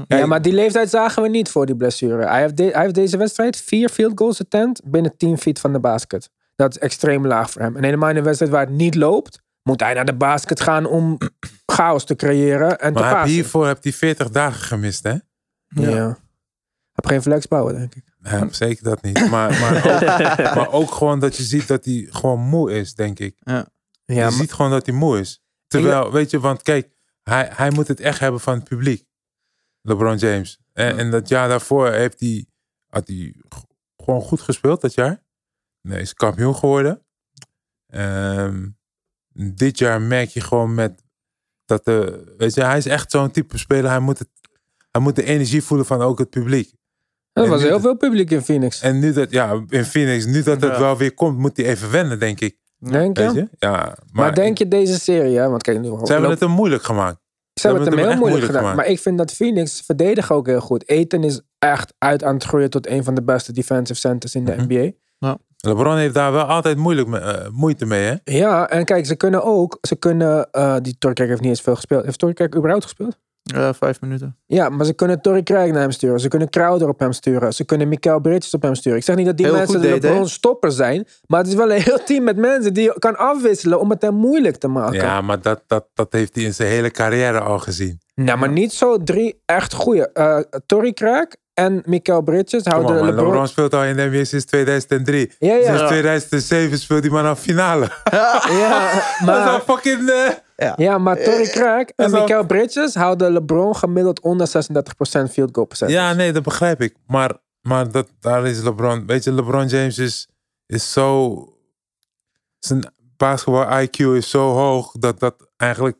ja, maar die leeftijd zagen we niet voor die blessure. Hij heeft, de- hij heeft deze wedstrijd vier field goals attempt binnen 10 feet van de basket. Dat is extreem laag voor hem. En helemaal in een wedstrijd waar het niet loopt, moet hij naar de basket gaan om chaos te creëren en te Maar hij heeft passen. hiervoor heeft hij 40 dagen gemist, hè? Ja. Heb geen flex bouwen, denk ik. Nee, zeker dat niet. Maar, maar, ook, maar ook gewoon dat je ziet dat hij gewoon moe is, denk ik. Ja, je ziet gewoon dat hij moe is. Terwijl, weet je, want kijk, hij, hij moet het echt hebben van het publiek. LeBron James. En, en dat jaar daarvoor heeft hij, had hij g- gewoon goed gespeeld, dat jaar. Nee, is kampioen geworden. Ehm, dit jaar merk je gewoon met dat de, weet je, hij is echt zo'n type speler. Hij moet, het, hij moet de energie voelen van ook het publiek. er was en nu heel de- veel publiek in Phoenix. En nu dat, ja, in Phoenix, nu dat het Ja. wel weer komt, moet hij even wennen, denk ik. Denk je? Weet je? Ja, maar, Maar, denk je deze serie, hè? want kijk, nu ze hebben loop- het hem moeilijk gemaakt. ze hebben het hem heel moeilijk echt moeilijk gedaan. gemaakt. Maar ik vind dat Phoenix verdedigen ook heel goed. Eten is echt uit aan het groeien tot een van de beste defensive centers in de Mhm. NBA. LeBron heeft daar wel altijd moeilijk me- eh, moeite mee, hè? Ja, en kijk, ze kunnen ook, ze kunnen, eh, die Torkerk heeft niet eens veel gespeeld. Heeft Torkerk überhaupt gespeeld? Eh, vijf minuten. Ja, maar ze kunnen Torrey Craig naar hem sturen. Ze kunnen Crowder op hem sturen. Ze kunnen Mikael Bridges op hem sturen. Ik zeg niet dat die Heel mensen goed de deed, hè? LeBron stopper zijn. Maar het is wel een heel team met mensen die je kan afwisselen om het hem moeilijk te maken. Ja, maar dat, dat, dat heeft hij in zijn hele carrière al gezien. Nou, maar niet zo drie echt goeie. Eh Torrey Craig en Mikael Bridges Kom houden op, man. LeBron... LeBron... speelt al in de NBA sinds 2003. Ja, ja. Sinds Ja. 2007 speelt hij maar een finale. Ja, dat is al maar, fucking... eh, ja, maar Torrey Craig en is al- Mikael Bridges houden LeBron gemiddeld onder 36% field goal percentage. Ja, nee, dat begrijp ik. Maar, maar dat, daar is LeBron... Weet je, LeBron James is, is zo... Zijn basketbal IQ is zo hoog dat dat eigenlijk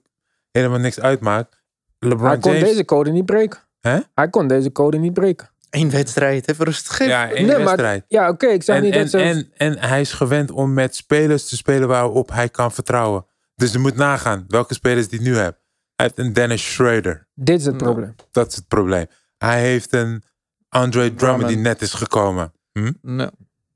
helemaal niks uitmaakt. LeBron Hij kon James... deze code niet breken. Hè? Hij kon deze code niet breken. Eén wedstrijd, even rustig. geven. Ja, één Nee, maar- wedstrijd. Ja, oké, ik zeg En, niet en, dat ze... en, en hij is gewend om met spelers te spelen waarop hij kan vertrouwen. Dus je moet nagaan welke spelers die nu hebt. Hij heeft een Dennis Schroeder. Dit is het probleem. Dat is het probleem. Hij heeft een Andre Drummond die Drummond. net is gekomen. Nee.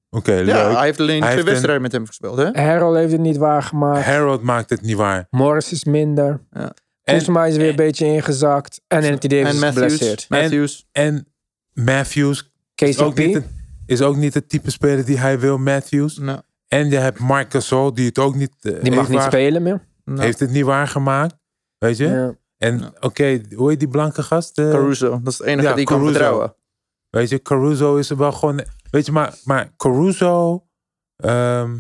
Oké, ja, leuk. hij heeft Hij alleen twee heeft een- wedstrijden met hem gespeeld, hè? Harold heeft het niet waargemaakt. Harold maakt het niet waar. Morris is minder. Ja. En- Kuzma is weer een beetje ingezakt. En Anthony Davis dus En is Matthews. geblesseerd. Matthews. En Matthews is ook, niet KCP? het, is ook niet het type speler die hij wil, Matthews. Nee. En je hebt Marc Gasol, die het ook niet, eh, Die mag heeft, niet waar- spelen meer. Nee. heeft het niet waargemaakt. Weet je? Ja. En oké, hoe heet die blanke gast? Eh, Caruso, dat is het enige Ja, die ik kan Caruso. vertrouwen. Weet je, Caruso is er wel gewoon. Weet je, maar, maar Caruso, ehm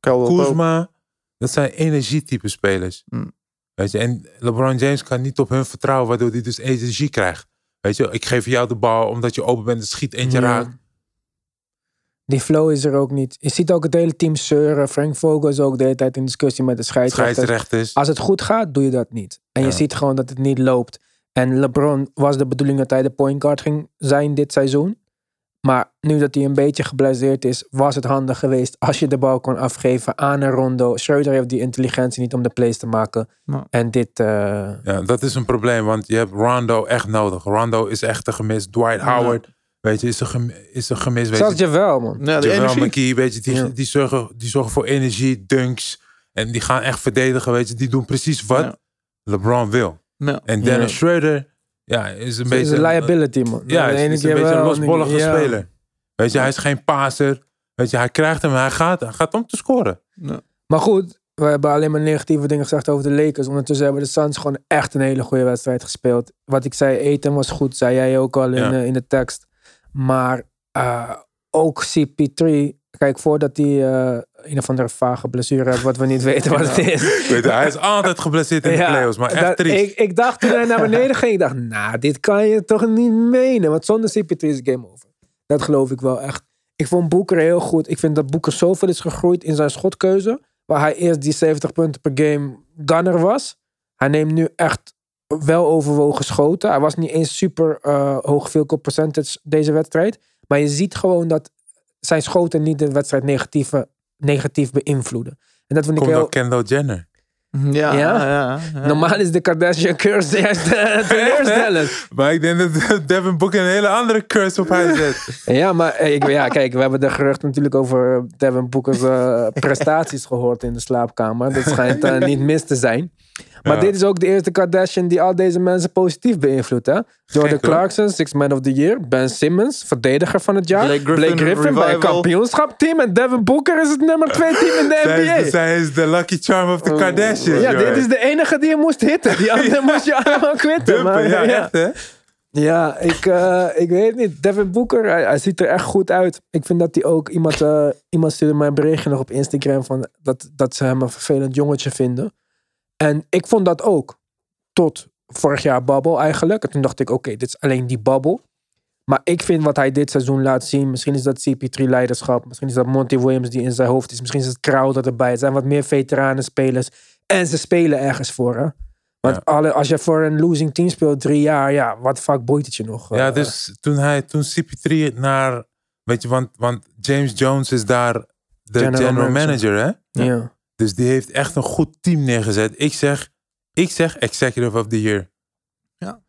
Caldwell Pope. Kuzma, dat zijn energietype spelers. Mm. Weet je, en LeBron James kan niet op hun vertrouwen, waardoor hij dus energie krijgt. Weet je, ik geef jou de bal omdat je open bent, dus schiet eentje Ja. raakt. Die flow is er ook niet. Je ziet ook het hele team zeuren. Frank Vogel is ook de hele tijd in discussie met de scheidsrechter. Scheidsrechters. Als het goed gaat, doe je dat niet. En je Ja. ziet gewoon dat het niet loopt. En LeBron was de bedoeling dat hij de point guard ging zijn dit seizoen. Maar nu dat hij een beetje geblesseerd is, was het handig geweest als je de bal kon afgeven aan een rondo. Schreuder heeft die intelligentie niet om de plays te maken. Nou. En dit. eh, Ja, dat is een probleem, want je hebt Rondo echt nodig. Rondo is echt een gemis. Dwight Howard, weet je, is een, gem- is een gemis. Weet zelfs je, Jawel, man. Ja, de Javel energie. McKee, weet je, die, Ja. die, zorgen, die zorgen voor energie, dunks. En die gaan echt verdedigen, weet je. Die doen precies wat Ja. LeBron wil. Ja. En Dennis Ja. Schroeder, ja, is een Het is beetje... een liability, man. Ja, De is, ene is een keer beetje wel, een de andere losbollige keer- ja. speler. Weet je, hij is geen paser. Weet je, hij krijgt hem, hij gaat, hij gaat om te scoren. Maar goed, we hebben alleen maar negatieve dingen gezegd over de Lakers. Ondertussen hebben de Suns gewoon echt een hele goede wedstrijd gespeeld. Wat ik zei, eten was goed, zei jij ook al in, Ja. eh, in de tekst. Maar eh, ook CP3, kijk, voordat hij eh een of andere vage blessure heeft, wat we niet weten wat het is. Weet je, hij is altijd geblesseerd in de Ja, playoffs, maar echt dat- triest. Ik, ik dacht toen hij naar beneden ging, ik dacht, nou, dit kan je toch niet menen. Want zonder CP3 is het game over. Dat geloof ik wel echt. Ik vond Boeker heel goed. Ik vind dat Boeker zoveel is gegroeid in zijn schotkeuze. Waar hij eerst die 70 punten per game gunner was. Hij neemt nu echt wel overwogen schoten. Hij was niet eens super eh, hoog field goal percentage deze wedstrijd. Maar je ziet gewoon dat zijn schoten niet de wedstrijd negatieve, negatief beïnvloeden. En dat vind ik Komt heel... door Kendall Jenner. Ja, Ja? ja, ja. Normaal is de Kardashian curse juist eh, teleurstellend. Maar ik denk dat Devin Booker een hele andere curse op haar zet. ja, maar eh, ik, ja, kijk, we hebben de geruchten natuurlijk over Devin Booker's eh, prestaties gehoord in de slaapkamer. Dat schijnt eh, niet mis te zijn. Maar Ja. dit is ook de eerste Kardashian die al deze mensen positief beïnvloedt. Hè? Jordan Gek, hoor. Clarkson, Six Man of the Year. Ben Simmons, verdediger van het jaar. Blake Griffin, bij een revival. kampioenschapteam. En Devin Booker is het nummer twee team in de Zij NBA. is, zij is de lucky charm of the Kardashians. Oh. ja, joh. dit is de enige die je moest hitten. Die andere moest je allemaal kwitten. maar, Dumpen, ja, ja. echt hè? Ja, ik, eh, ik weet niet. Devin Booker, hij, hij ziet er echt goed uit. Ik vind dat hij ook... Iemand, eh, iemand stuurde mij een berichtje nog op Instagram... Van dat, dat ze hem een vervelend jongetje vinden. En ik vond dat ook. Tot vorig jaar babbel eigenlijk. En toen dacht ik, oké, dit is alleen die babbel. Maar ik vind wat hij dit seizoen laat zien... Misschien is dat CP3-leiderschap. Misschien is dat Monty Williams die in zijn hoofd is. Misschien is het Crowder erbij. Het zijn wat meer veteranenspelers. En ze spelen ergens voor, hè? Want Ja. alle, als je voor een losing team speelt drie jaar, ja, wat vaak boeit het je nog? Ja, eh? dus toen, hij, toen CP3 naar... Weet je, want, want James Jones is daar de General general, manager. manager. hè? ja. Dus die heeft echt een goed team neergezet. Ik zeg, ik zeg executive of the year. Ja.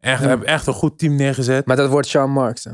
Echt, Ja. Heb echt een goed team neergezet. Maar dat wordt Sean Marks. Hè?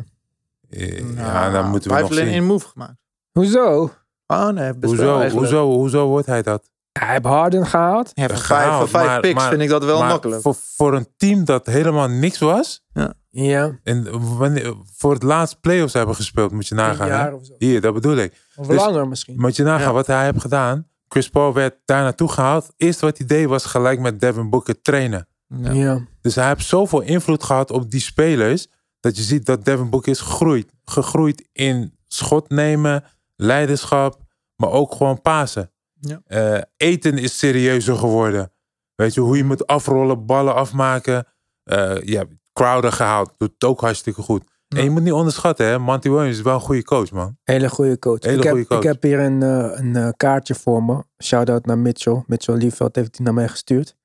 Eh, Nou, ja, dan moeten we hij nog heeft alleen zien. één move gemaakt. Hoezo? Oh nee, hij heeft best wel Hoezo, eigenlijk- hoezo, hoezo wordt hij dat? Hij heeft Harden gehaald. Ja, voor Gehaald, vijf, voor vijf maar- picks maar- vind ik dat wel Maar makkelijk. Voor, voor een team dat helemaal niks was. Ja. En wanneer, voor het laatst playoffs hebben gespeeld, moet je nagaan. een hè? jaar of zo. Hier, dat bedoel ik. Of Dus- langer misschien. Moet je nagaan Ja. wat hij heeft gedaan. Chris Paul werd daar naartoe gehaald. Eerst wat hij deed was gelijk met Devin Booker trainen. Ja. Ja. Ja. Dus hij heeft zoveel invloed gehad op die spelers. Dat je ziet dat Devin Booker is gegroeid. Gegroeid in schot nemen, leiderschap, maar ook gewoon pasen. Ja. Eh, eten is serieuzer geworden. Weet je, hoe je moet afrollen, ballen afmaken. Eh je hebt Crowder gehaald, doet het ook hartstikke goed. En je moet niet onderschatten, hè? Monty Williams is wel een goede coach, man. Hele goede coach. Hele ik, heb, goede coach. ik heb hier een, eh, een eh, kaartje voor me. Shout-out naar Mitchell. Mitchell Liefeld heeft die naar mij gestuurd.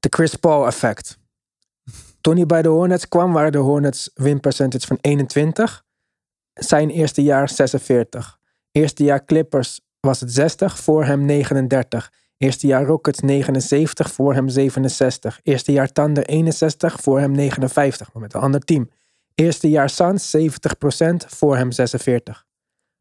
De Chris Paul effect. Toen hij bij de Hornets kwam, waren de Hornets winpercentage van 21. Zijn eerste jaar 46. Eerste jaar Clippers was het 60, voor hem 39. Eerste jaar Rockets 79, voor hem 67. Eerste jaar Thunder 61, voor hem 59, maar met een ander team. Eerste jaar Suns 70%, voor hem 46.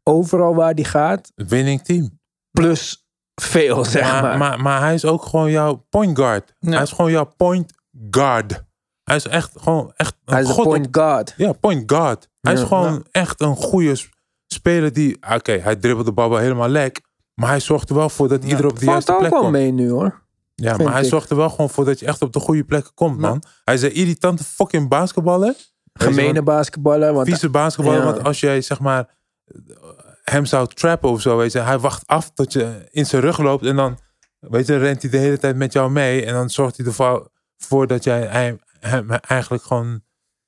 Overal waar die gaat, Winning team. plus veel, zeg maar. maar, maar, maar hij is ook gewoon jouw point guard. Ja. Hij is gewoon jouw point guard. Hij is echt gewoon echt een Hij is god een op point guard. Ja, point guard. Hij Ja. is gewoon echt een goede s- speler die... ah, Oké, hij dribbelt de bal wel helemaal lek. Maar hij zorgt er wel voor dat ieder op de Valt juiste ook plek wel komt. mee nu, hoor. Ja, vind maar hij ik. zorgt er wel gewoon voor dat je echt op de goede plekken komt, man. Hij is een irritante fucking basketballer. Gemene basketballer, want Vieze basketballer. Ja. Want als jij, zeg maar, eh, hem zou trappen of zo, weet je. Hij wacht af tot je in zijn rug loopt. En dan, weet je, rent hij de hele tijd met jou mee. En dan zorgt hij ervoor voor dat jij hij- hem eigenlijk gewoon...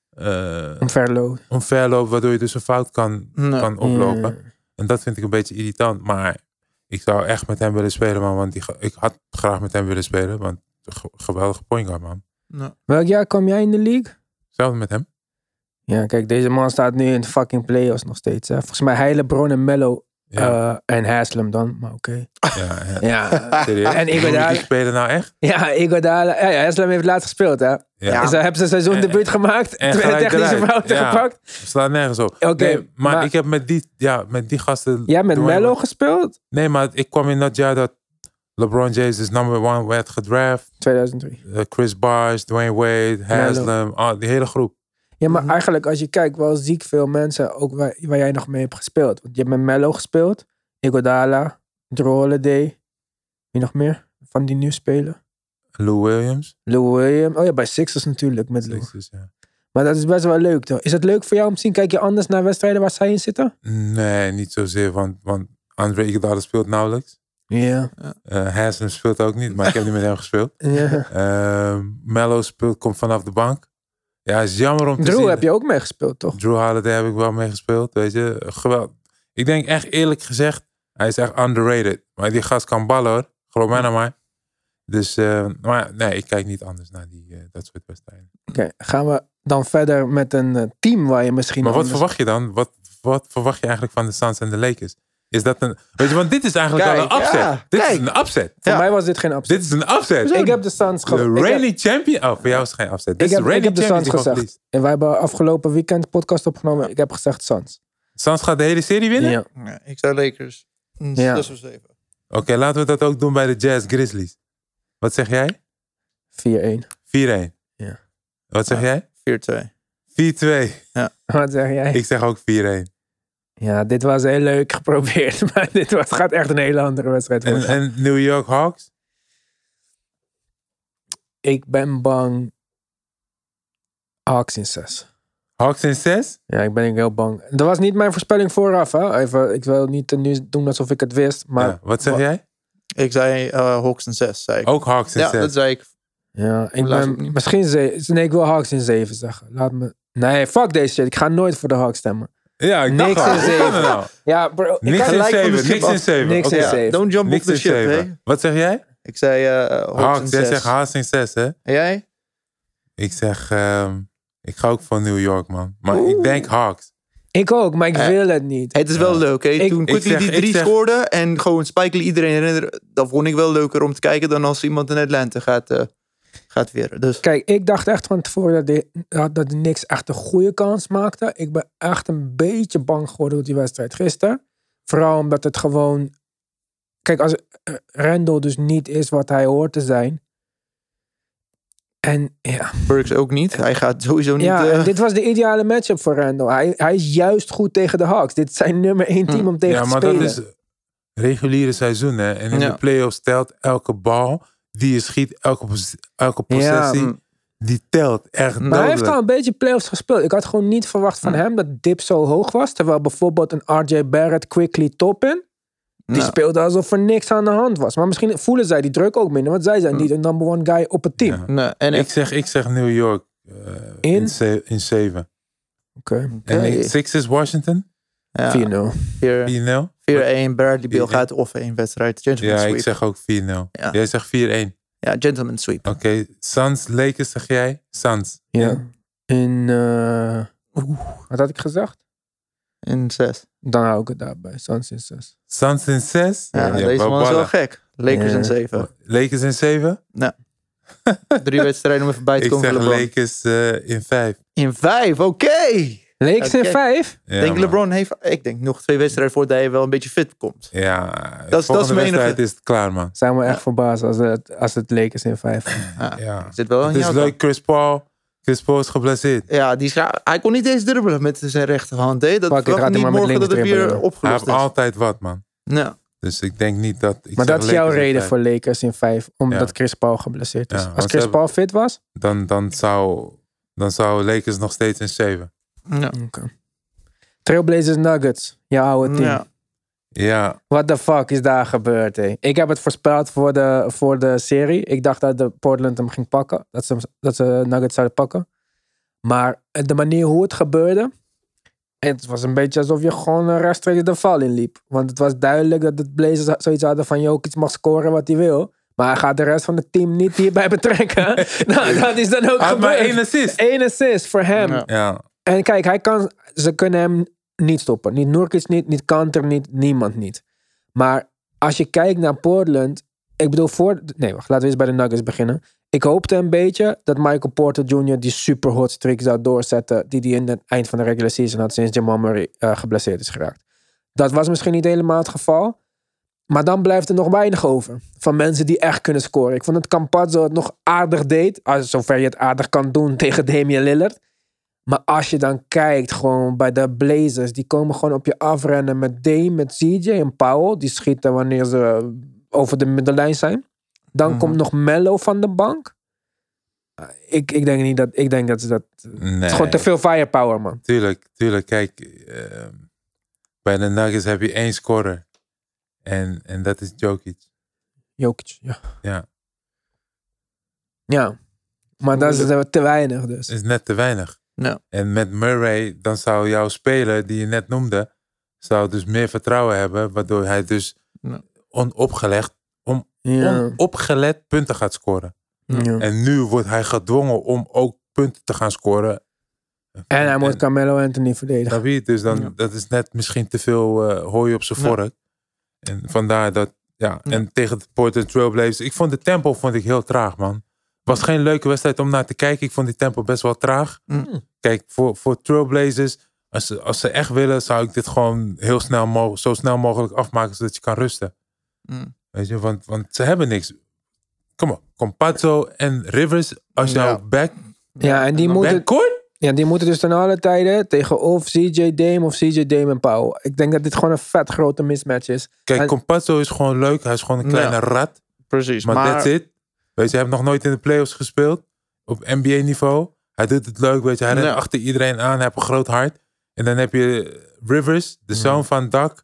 eh, Verlo. omver loopt, waardoor je dus een fout kan, Ja. kan oplopen. Mm. En dat vind ik een beetje irritant. Maar ik zou echt met hem willen spelen, man. Want die, ge- ik had graag met hem willen spelen. Want een ge- geweldige point guard, man. Ja. Welk jaar kwam jij in de league? Hetzelfde met hem. Ja, kijk, deze man staat nu in de fucking playoffs nog steeds. Hè. Volgens mij Heilebron en Mello Ja, eh, en Haslem dan, maar oké. ja, ja. Ja, Serieus? En ik ben Noem je daar- Die spelen nou echt? ja Iguodala. Ja, ja, Haslem heeft laatst gespeeld, hè. Ja. Ze hebben zijn seizoendebuut gemaakt, en twee gelijk technische eruit. fouten Ja. gepakt. Slaat nergens op. Oké, Nee, maar, maar- ik heb met die, ja, met die gasten... Jij hebt met Dwayne- Mello gespeeld? Nee, maar ik kwam in dat jaar dat LeBron James is number one werd gedraft. 2003. Eh, Chris Bosh, Dwayne Wade, Haslem, ah, die hele groep. Ja, maar Mhm. eigenlijk als je kijkt, wel ziek veel mensen ook waar, waar jij nog mee hebt gespeeld. Want je hebt met Mello gespeeld, Iguodala, Drew Holiday. Wie nog meer van die nu spelen? Lou Williams. Lou Williams. Oh ja, bij Sixers natuurlijk met Lou. Sixers, ja. Maar dat is best wel leuk. Toch? Is het leuk voor jou om te zien? Kijk je anders naar wedstrijden waar zij in zitten? Nee, niet zozeer, want, want Andre Iguodala speelt nauwelijks. Ja. Eh Haslem speelt ook niet, maar ik heb niet met hem gespeeld. ja. Eh, Mello speelt, komt vanaf de bank. Ja, is jammer om te zien. Drew heb je ook mee gespeeld, toch? Drew Holiday heb ik wel mee gespeeld, weet je. Geweld. Ik denk echt eerlijk gezegd, hij is echt underrated. Maar die gast kan ballen hoor, geloof mij nou maar. Dus, eh, maar nee, ik kijk niet anders naar die, eh, dat soort wedstrijden. Oké, gaan we dan verder met een eh, team waar je misschien... Maar wat anders- verwacht je dan? Wat, wat verwacht je eigenlijk van de Suns en de Lakers? Is dat een, weet je, want dit is eigenlijk al Kijk, een upset. ja, dit is kijk. een upset. Voor Ja. mij was dit geen upset. Dit is een upset. Ik heb de Suns de ge- ik heb- reigning champion. Oh, voor jou is het geen upset. Dit Ik is heb, de ik heb reigning de champion Suns die gewoon verliest. gezegd. En wij hebben afgelopen weekend een podcast opgenomen. Ik heb gezegd Suns. Suns gaat de hele serie winnen? Ja. Ja, ik zei Lakers. Mm, Ja. zes of zeven. Oké, laten we dat ook doen bij de Jazz Grizzlies. Wat zeg jij? 4-1. 4-1. Ja. Wat zeg Ja. jij? 4-2. 4-2. Wat zeg jij? Ik zeg ook 4-1. En, Ja, dit was heel leuk geprobeerd. Maar dit was, gaat echt een hele andere wedstrijd worden. en New York Hawks? ik ben bang. Hawks in 6. Hawks in 6? Ja, ik ben ook heel bang. Dat was niet mijn voorspelling vooraf. Hè? Even, ik wil niet eh, nu doen alsof ik het wist. Maar Ja. Wat zeg Wa- jij? Ik zei eh, Hawks en 6, zei ik. Ook Hawks in ja, 6. dat zei ik. Ja, ik Laat ze ook ben niet. misschien ze, Nee, ik wil Hawks in 7 zeggen. Laat me. Nee, fuck deze shit. Ik ga nooit voor de Hawks stemmen. Ja, ik Niks dacht al. in Hoe zeven. kan dat nou? Ja, bro. ik Niks kan- in gelijk van 7. de Niks schip in af. 7. Niks in Oké. zeven. Ja, don't jump Niks off the in ship, hè. 7. Wat zeg jij? Ik zei eh, Hawks, Hawks, en jij 6. zegt Hawks in 6, hè? En jij? Ik zeg, ehm, ik ga ook voor New York, man. Maar ik Oeh. denk Hawks. Ik ook, maar ik Eh, wil het niet. Het is wel Ja. leuk, hè? Ik- Toen Ik Quickly zeg- die ik drie zeg- scoorde en gewoon Spike Lee iedereen herinneren, dat vond ik wel leuker om te kijken dan als iemand in Atlanta gaat, eh, gaat weer. Dus Kijk, ik dacht echt van tevoren dat die, dat dat die niks echt een goede kans maakte. Ik ben echt een beetje bang geworden door die wedstrijd gisteren. Vooral omdat het gewoon... Kijk, als eh, Randall dus niet is wat hij hoort te zijn... En ja, Burks ook niet. Hij gaat sowieso niet. ja eh, en dit was de ideale matchup voor Randall. Hij, hij is juist goed tegen de Hawks. Dit is zijn nummer één Hm. team om tegen ja, te maar spelen. dat is reguliere seizoen, hè? En in Ja. de playoffs telt elke bal die je schiet, elke, pos- elke possessie, mm. die telt echt Maar hij heeft dodelijk. al een beetje playoffs gespeeld. Ik had gewoon niet verwacht van Ja. hem dat dip zo hoog was. Terwijl bijvoorbeeld een RJ Barrett quickly top in. Die nou, speelde alsof er niks aan de hand was. Maar misschien voelen zij die druk ook minder. Want zij zijn Hm. niet een number one guy op het team. Ja. nou, en Ik ik, zeg, ik zeg New York eh, In? in, ze- in 7. Oké, En Oké. ik- Sixers Washington, ja, 4-0. 4-0. 4-1. Bradley Beal Vier- gaat of één wedstrijd. Gentleman Ja, sweep. ik zeg ook 4-0. Ja. Jij zegt 4-1. Oké, Ja, gentleman sweep. Suns, Lakers zeg jij? Suns. Ja. Ja. In, eh, Oeh. wat had ik gezegd? In 6. Dan hou ik het daarbij. Suns in 6. Suns in 6. Ja, deze man is wel gek. Lakers Ja. in 7. Lakers in 7. Drie wedstrijden om even bij te Ik komen zeg voor LeBron. Lakers eh, in 5. In 5, oké! Lakers in Oké. 5? Ja, denk man. LeBron heeft, ik denk nog twee wedstrijden voordat hij wel een beetje fit komt. Ja, dat is volgende mijn enige. wedstrijd is het klaar, man. Zijn we echt verbaasd als het, als het Lakers in 5 Ja. Ja. Zit wel aan Het is jouw leuk, kant. Chris Paul. Chris Paul is geblesseerd. Ja, die is, hij kon niet eens dribbelen met zijn rechterhand. Hè. Dat Fuck it, verwacht gaat hij niet maar met morgen dat links het weer dribbelen. Hij opgelost heeft is. altijd wat, man. Nou, Dus ik denk niet dat... Ik Maar zeg dat is jouw Lakers in reden vijf. voor Lakers in 5. Omdat Ja. Chris Paul geblesseerd is. Ja, als want ze Chris hebben- Paul fit was? Dan, dan, zou, dan zou Lakers nog steeds in 7. nou, Oké. Trailblazers Nuggets. Jouw oude team. nou. Ja, What the fuck is daar gebeurd, hé? Ik heb het voorspeld voor de, voor de serie. Ik dacht dat de Portland hem ging pakken. Dat ze, hem- dat ze Nuggets zouden pakken. Maar de manier hoe het gebeurde... Het was een beetje alsof je gewoon eh, rechtstreeks de val in liep. Want het was duidelijk dat de Blazers zoiets hadden van... Jokic mag scoren wat hij wil. Maar hij gaat de rest van het team niet hierbij betrekken. nou, dat is dan ook hij had maar gebeurd. één assist. Eén assist voor hem. Ja. Ja, En kijk, hij kan, ze kunnen hem niet stoppen. Niet Nurkic niet, niet Kanter niet, niemand niet. Maar als je kijkt naar Portland... Ik bedoel, voor... Nee, wacht. Laten we eens bij de Nuggets beginnen. Ik hoopte een beetje dat Michael Porter Jr. die super hot streak zou doorzetten... die hij in het eind van de regular season had sinds Jamal Murray eh, geblesseerd is geraakt. Dat was misschien niet helemaal het geval. Maar dan blijft er nog weinig over. Van mensen die echt kunnen scoren. Ik vond dat Campazzo het nog aardig deed. Als, zover je het aardig kan doen tegen Damian Lillard. Maar als je dan kijkt gewoon bij de Blazers. Die komen gewoon op je afrennen met Dame, met CJ en Powell. Die schieten wanneer ze over de middenlijn zijn. Dan Mhm. komt nog Mello van de bank. Eh, Ik, ik denk niet dat... Ik denk dat ze dat... Nee. Het is gewoon te veel firepower, man. Tuurlijk, tuurlijk. Kijk, ehm, bij de Nuggets heb je één scorer. En, en dat is Jokic. Jokic, ja. Ja. Ja. Maar dat is te weinig dus. is net te weinig. Ja. En met Murray, dan zou jouw speler die je net noemde, zou dus meer vertrouwen hebben, waardoor hij dus Ja. onopgelegd, Ja. onopgelet punten gaat scoren. Ja. En nu wordt hij gedwongen om ook punten te gaan scoren. En hij moet Carmelo Anthony verdedigen. Snap je? Dus dan, Ja. dat is net misschien te veel eh, hooi op zijn Ja. vork. En vandaar dat, ja. Ja. En tegen de Portland Trailblazers. Ik vond de tempo vond ik heel traag, man. Was geen leuke wedstrijd om naar te kijken. Ik vond die tempo best wel traag. Mm. Kijk, voor, voor Trailblazers, als ze, als ze echt willen, zou ik dit gewoon heel snel mo- zo snel mogelijk afmaken, zodat je kan rusten. Mm. Weet je, want, want ze hebben niks. Kom op, Compazzo en Rivers, als jouw Ja. back, Ja, en die dan- moeten, backcourt? ja, die moeten dus ten alle tijden tegen of CJ Dame of CJ Dame en Powell. Ik denk dat dit gewoon een vet grote mismatch is. Kijk, En- Compazzo is gewoon leuk. Hij is gewoon een Ja. kleine rat. Precies. Maar, Maar, that's it. Weet je, hij heeft nog nooit in de playoffs gespeeld. Op NBA-niveau. Hij doet het leuk, weet je. Hij rent Ja. achter iedereen aan. Hij heeft een groot hart. En dan heb je Rivers, de Mm. zoon van Dak.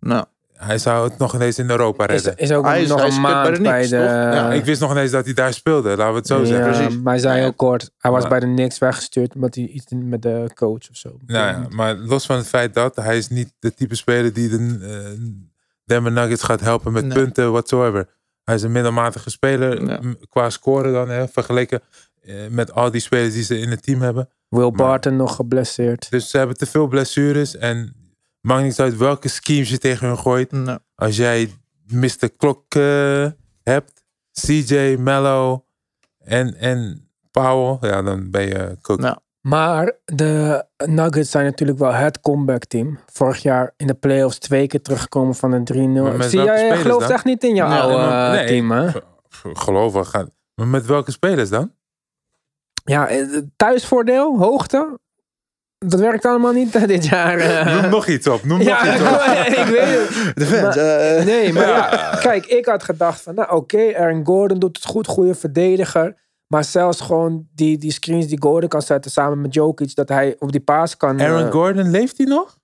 nou, Hij zou het nog ineens in Europa Is, redden. is ook Hij is- nog hij is een kut bij maand de bij de... Knicks, toch? Ja, Ik wist nog ineens dat hij daar speelde. Laten we het zo ja, zeggen. precies. Maar hij zei Ja. heel kort, hij was Maar- bij de Knicks weggestuurd omdat hij iets met de coach of zo. Nou ja, maar los van het feit dat... Hij is niet de type speler die de eh, Denver Nuggets gaat helpen met Nee. punten, whatsoever. Hij is een middelmatige speler. Ja. m, Qua scoren dan, hè, vergeleken eh, met al die spelers die ze in het team hebben. Will Barton nog geblesseerd. Dus ze hebben te veel blessures. En maakt niet uit welke schemes je tegen hun gooit. nou, Als jij Mr. Klok eh, hebt, CJ, Mello en, en Powell, ja, dan ben je cook. nou. Maar de Nuggets zijn natuurlijk wel het comeback team. Vorig jaar in de playoffs twee keer teruggekomen van een 3-0. Maar met Zie welke jij, jij spelers gelooft dan? echt niet in jouw Nee, oude maar- eh, nee. team, hè? Gelovig. gaan. Maar met welke spelers dan? Ja, eh, thuisvoordeel, hoogte. Dat werkt allemaal niet eh, dit jaar. eh. Noem nog iets op. Noem ja, nog iets op. ik weet het. De fans. eh, Nee, maar ja, kijk, ik had gedacht van, nou oké, Aaron Gordon doet het goed, goede verdediger. Maar zelfs gewoon die, die screens die Gordon kan zetten samen met Jokic, dat hij op die paas kan. eh, Aaron Gordon, Nou, leeft hij nog?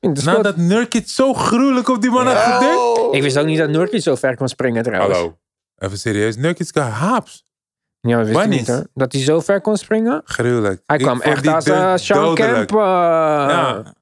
in de schot. Nadat Nurkic zo gruwelijk op die man had gedekt. Ik wist ook niet dat Nurkic zo ver kon springen trouwens. Even serieus. Nurkic kan haaps. Ja, dat wist Waar ik niet niet? hè. Dat hij zo ver kon springen. Gruwelijk. Hij Ik kwam vond echt die als dunk eh, Sean dodelijk. Kemp. eh, Ja.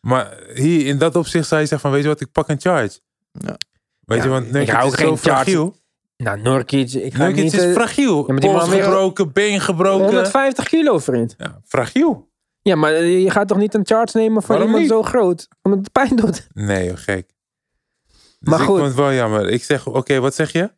Maar hier, in dat opzicht zou je zeggen van, weet je wat, ik pak een charge. Ja. Weet Ja, je, want ik Nurkic hou is ook zo geen charge. fragiel. Nou, Nurkic, ik ga Nurkic niet... is eh, fragiel. ja, maar die Pols man weer- gebroken, been gebroken. 150 kilo, vriend. Ja, fragiel. Ja, maar eh, je gaat toch niet een charge nemen van Waarom iemand niet? zo groot? Omdat het pijn doet. Nee, joh, gek. Dus Maar ik goed. vond het wel jammer. Ik zeg, oké, wat zeg je?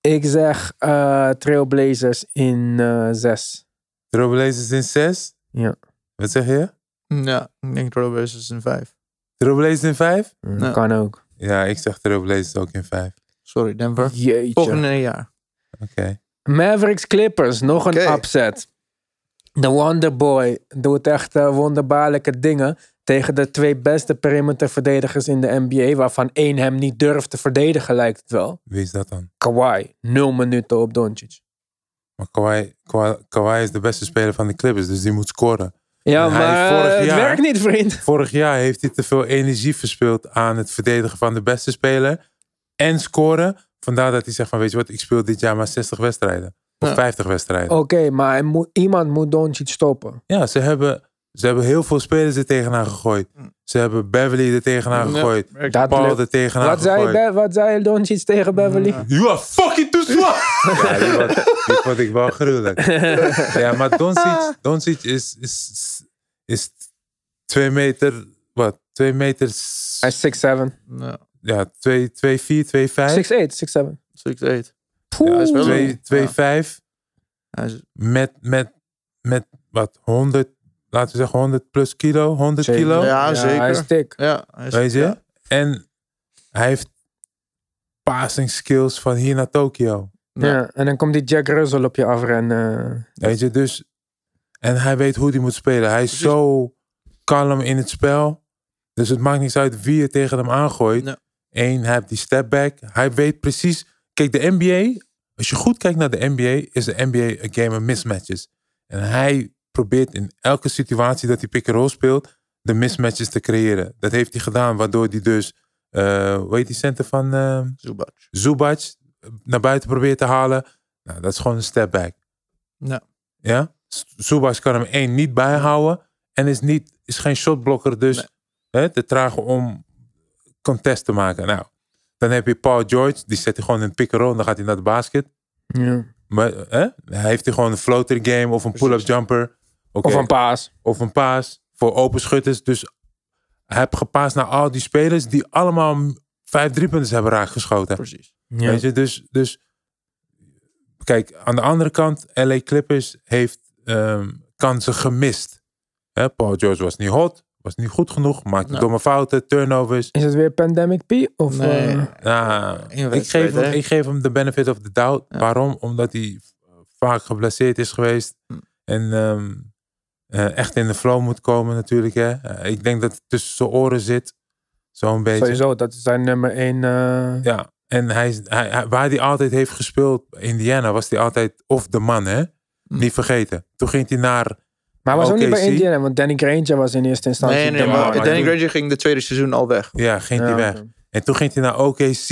Ik zeg eh, Trailblazers in eh, 6. Trailblazers in 6? Ja. Wat zeg je? Ja, ik denk Trailblazers is een 5. Trailblazers in 5? Ja. Kan ook. Ja, ik zeg Trailblazers ook in 5. Sorry, Denver. Jeetje. Volgende jaar. Oké. Mavericks Clippers, nog een Oké. upset. De Wonderboy doet echt eh, wonderbaarlijke dingen tegen de twee beste perimeterverdedigers in de NBA, waarvan één hem niet durft te verdedigen, lijkt het wel. Wie is dat dan? Kawhi, nul minuten op Doncic. Maar Kawhi, Kawhi, Kawhi is de beste speler van de Clippers, dus die moet scoren. Ja, Hij maar vorig eh, het jaar- werkt niet, vriend. Vorig jaar heeft hij te veel energie verspeeld aan het verdedigen van de beste speler. En scoren. Vandaar dat hij zegt van, weet je wat, ik speel dit jaar maar 60 wedstrijden. Of Ja. 50 wedstrijden. Oké, maar hij moet, iemand moet Doncic stoppen. Ja, ze hebben Ze hebben heel veel spelers er tegenaan gegooid. Ze hebben Beverly er tegenaan Ja. gegooid. Dat Paul lukt. er tegenaan Wat gegooid. zei, Be- wat zei Doncic tegen Beverly? You are fucking too small! ja, die vond, die vond ik wel gruwelijk. ja, maar Doncic, Doncic is, is, is twee meter, wat, twee meter, s- Hij is 6'7. Ja, ja, twee, twee, vier, twee, vijf. 6'8, 6'7. six, eight. Poeh. hij is wel een- Twee, twee, Ja. vijf, Hij is- met, met, met, wat, 100, laten we zeggen 100 plus kilo, 100 Zeker. kilo. Ja, Hij zeker. is dik. Ja, hij is- Weet je? ja. En hij heeft passing skills van hier naar Tokio. Ja. En dan komt die Jack Russell op je eh, afrennen. Weet je, dus. En hij weet hoe hij moet spelen. Hij is Precies. zo kalm in het spel. Dus het maakt niks uit wie je tegen hem aangooit. Ja. Eén, hij heeft die step back. Hij weet precies. Kijk, de NBA. Als je goed kijkt naar de NBA, is de NBA een game of mismatches. En hij probeert in elke situatie dat hij pick-and-roll speelt, de mismatches te creëren. Dat heeft hij gedaan, waardoor hij dus, eh hoe heet die center van eh, Zubac. Zubac eh, naar buiten probeert te halen. Nou, dat is gewoon een step back. Ja. Ja? Z- Zubac kan hem één niet bijhouden. En is, niet, is geen shotblokker, dus hè, te traag om contest te maken. Nou, dan heb je Paul George, die zet hij gewoon in een pick-and-roll. Dan gaat hij naar de basket. Ja. Maar hè, heeft hij gewoon een floater game of een pull-up jumper. Oké, Of een paas. of een paas voor open schutters. Dus hij heeft gepaast naar al die spelers die allemaal vijf driepunters hebben raakgeschoten. Precies. Ja. Weet je, dus, dus kijk, aan de andere kant, LA Clippers heeft ehm, kansen gemist. Hè, Paul George was niet hot, was niet goed genoeg, maakte Nou. domme fouten, turnovers. Is het weer Pandemic P? Of, Nee. eh, Nou, Eén ik, wedstrijd, geef hem, hè? ik geef hem de benefit of the doubt. Ja. Waarom? Omdat hij vaak geblesseerd is geweest Hm. en ehm, eh, echt in de flow moet komen natuurlijk. Hè. Eh, ik denk dat het tussen zijn oren zit, zo'n beetje. sowieso, dat is zijn nummer eh, 1. Ja, en hij, is- hij, hij- waar hij altijd heeft gespeeld, Indiana, was hij altijd of de man, hè? Niet vergeten. Toen ging hij naar. Maar hij was ook niet bij OKC. Indiana, want Danny Granger was in eerste instantie. Nee, nee, de maar maar man. Danny toen- Granger ging de tweede seizoen al weg. Ja, ging hij Ja, weg. oké. En toen ging hij naar OKC.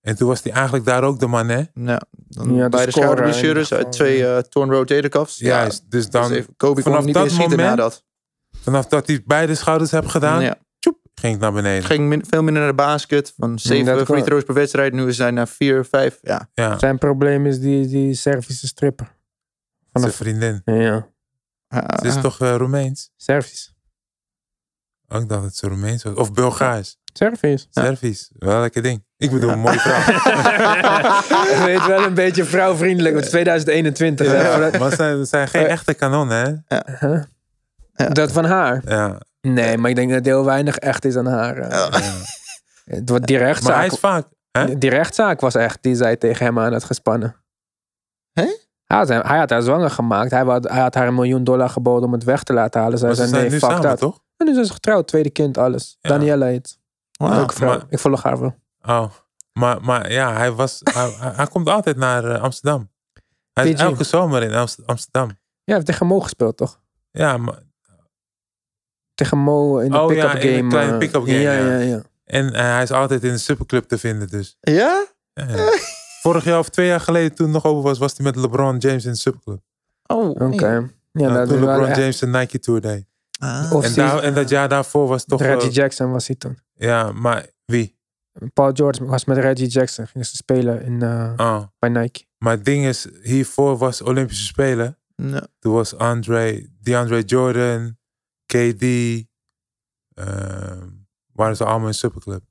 En toen was hij eigenlijk daar ook de man, hè? Ja, dan Ja, de beide scorer in schouderblessures ieder uit geval, twee eh, torn rotator cuffs. Juist. dus dan dan, dus even- Kobe kon vanaf hem niet dat meer schieten na moment dat. vanaf dat hij beide schouders heeft gedaan, Ja. tjoep, ging het naar beneden. Het ging min- veel minder naar de basket. Van dat zeven free kan. throws per wedstrijd. Nu is hij naar vier, vijf. Ja, Ja, Zijn probleem is die, die Servische stripper. zijn Vanaf, vriendin. ja, Ah, Ze is ah. toch eh, Roemeens? Servisch. Oh, Ik dacht dat ze Roemeens was. Of Bulgaars. Servisch. Servisch. Wel lekker ding. Ik bedoel, een mooie vrouw. Weet wel een beetje vrouwvriendelijk, want het is 2021. hè. Ja, maar ze ze zijn geen echte kanonnen, hè? Huh? Ja. Dat van haar? Ja. Nee, maar ik denk dat heel weinig echt is aan haar. eh. ja. Het wordt Die Maar hij rechtszaak, is vaak. hè? die rechtszaak was echt, die zij tegen hem aan het gespannen. Hè? Hij had, hem- hij had haar zwanger gemaakt. Hij had, hij had haar een miljoen dollar geboden om het weg te laten halen. Zij Maar ze zei, zijn nee, nu fuck samen, dat. toch? En nu zijn ze getrouwd, tweede kind, alles. Ja. Daniela heet. Wauw. Leuke vrouw. maar- Ik volg haar wel. Oh, maar, maar ja, hij, was, hij, hij- hij komt altijd naar eh, Amsterdam. Hij is PG. elke zomer in Amst- Amsterdam. Ja, hij heeft tegen Mo gespeeld, toch? Ja, maar, Tegen Mo in de Oh, pick-up ja, in game. de kleine eh, pick-up game, Ja, ja. ja, ja. en eh, hij is altijd in de superclub te vinden dus. Ja? Ja. Vorig jaar of twee jaar geleden, toen het nog over was, was hij met LeBron James in de superclub. Oh, Oké. Ja, Ja, dat toen is wel LeBron echt- James de Nike Tour deed. Of Ah. En, zie- daar, en dat jaar daarvoor was toch... Reggie eh, Jackson was hij toen. ja, maar wie? Paul George was met Reggie Jackson. Gingen ze spelen in, eh, Oh. bij Nike. Maar het ding is, hiervoor was Olympische Spelen. Ja. Toen was Andre, DeAndre Jordan, KD. ehm, waren ze allemaal in superclub.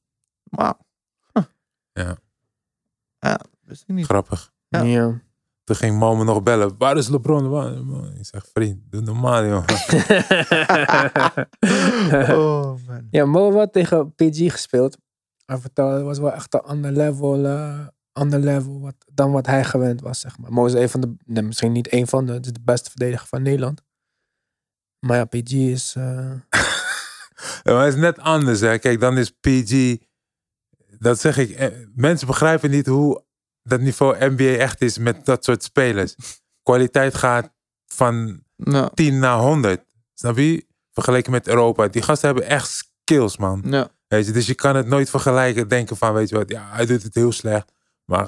Wauw. Huh. Ja. Ja, wist ik niet. Grappig. Ja. Ja. Toen ging Mo me nog bellen. Waar is LeBron? Waar- Mo- Ik zeg, vriend, doe normaal, joh. Oh, man. ja, Mo had tegen PG gespeeld. Hij vertelde, het was wel echt een ander level, eh ander level wat, dan wat hij gewend was, zeg maar. Mo is een van de, nee, misschien niet een van de, het is de beste verdediger van Nederland. Maar ja, PG is... eh, Ja, maar het is net anders, hè. Kijk, dan is PG... Dat zeg ik. eh, Mensen begrijpen niet hoe dat niveau NBA echt is met dat soort spelers. Kwaliteit gaat van Ja. 10 naar 100. Snap je? Vergeleken met Europa. Die gasten hebben echt skills, man. Ja. Weet je? Dus je kan het nooit vergelijken. Denken van, weet je wat, ja, hij doet het heel slecht. Maar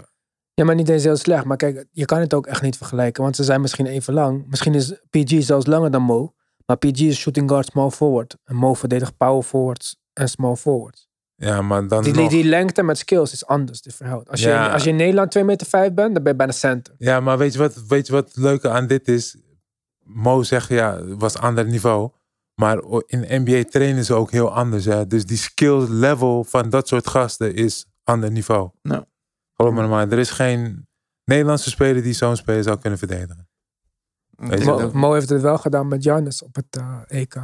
Ja, maar niet eens heel slecht. Maar kijk, je kan het ook echt niet vergelijken. Want ze zijn misschien even lang. Misschien is PG zelfs langer dan Mo. Maar PG is shooting guard, small forward. En Mo verdedigt power forwards en small forwards. Ja, maar dan Die, nog... die, die lengte met skills is anders, dit verhoud. Als je, Ja. als je in Nederland 2,5 meter vijf bent, dan ben je bijna center. Ja, maar weet je wat, weet je wat het leuke aan dit is? Mo zegt ja, het was ander niveau. Maar o- in NBA trainen ze ook heel anders. Hè? Dus die skill level van dat soort gasten is ander niveau. Nou. Geloof me maar, er is geen Nederlandse speler die zo'n speler zou kunnen verdedigen. Weet je Ja, Mo, dat- Mo heeft het wel gedaan met Giannis op het eh, EK.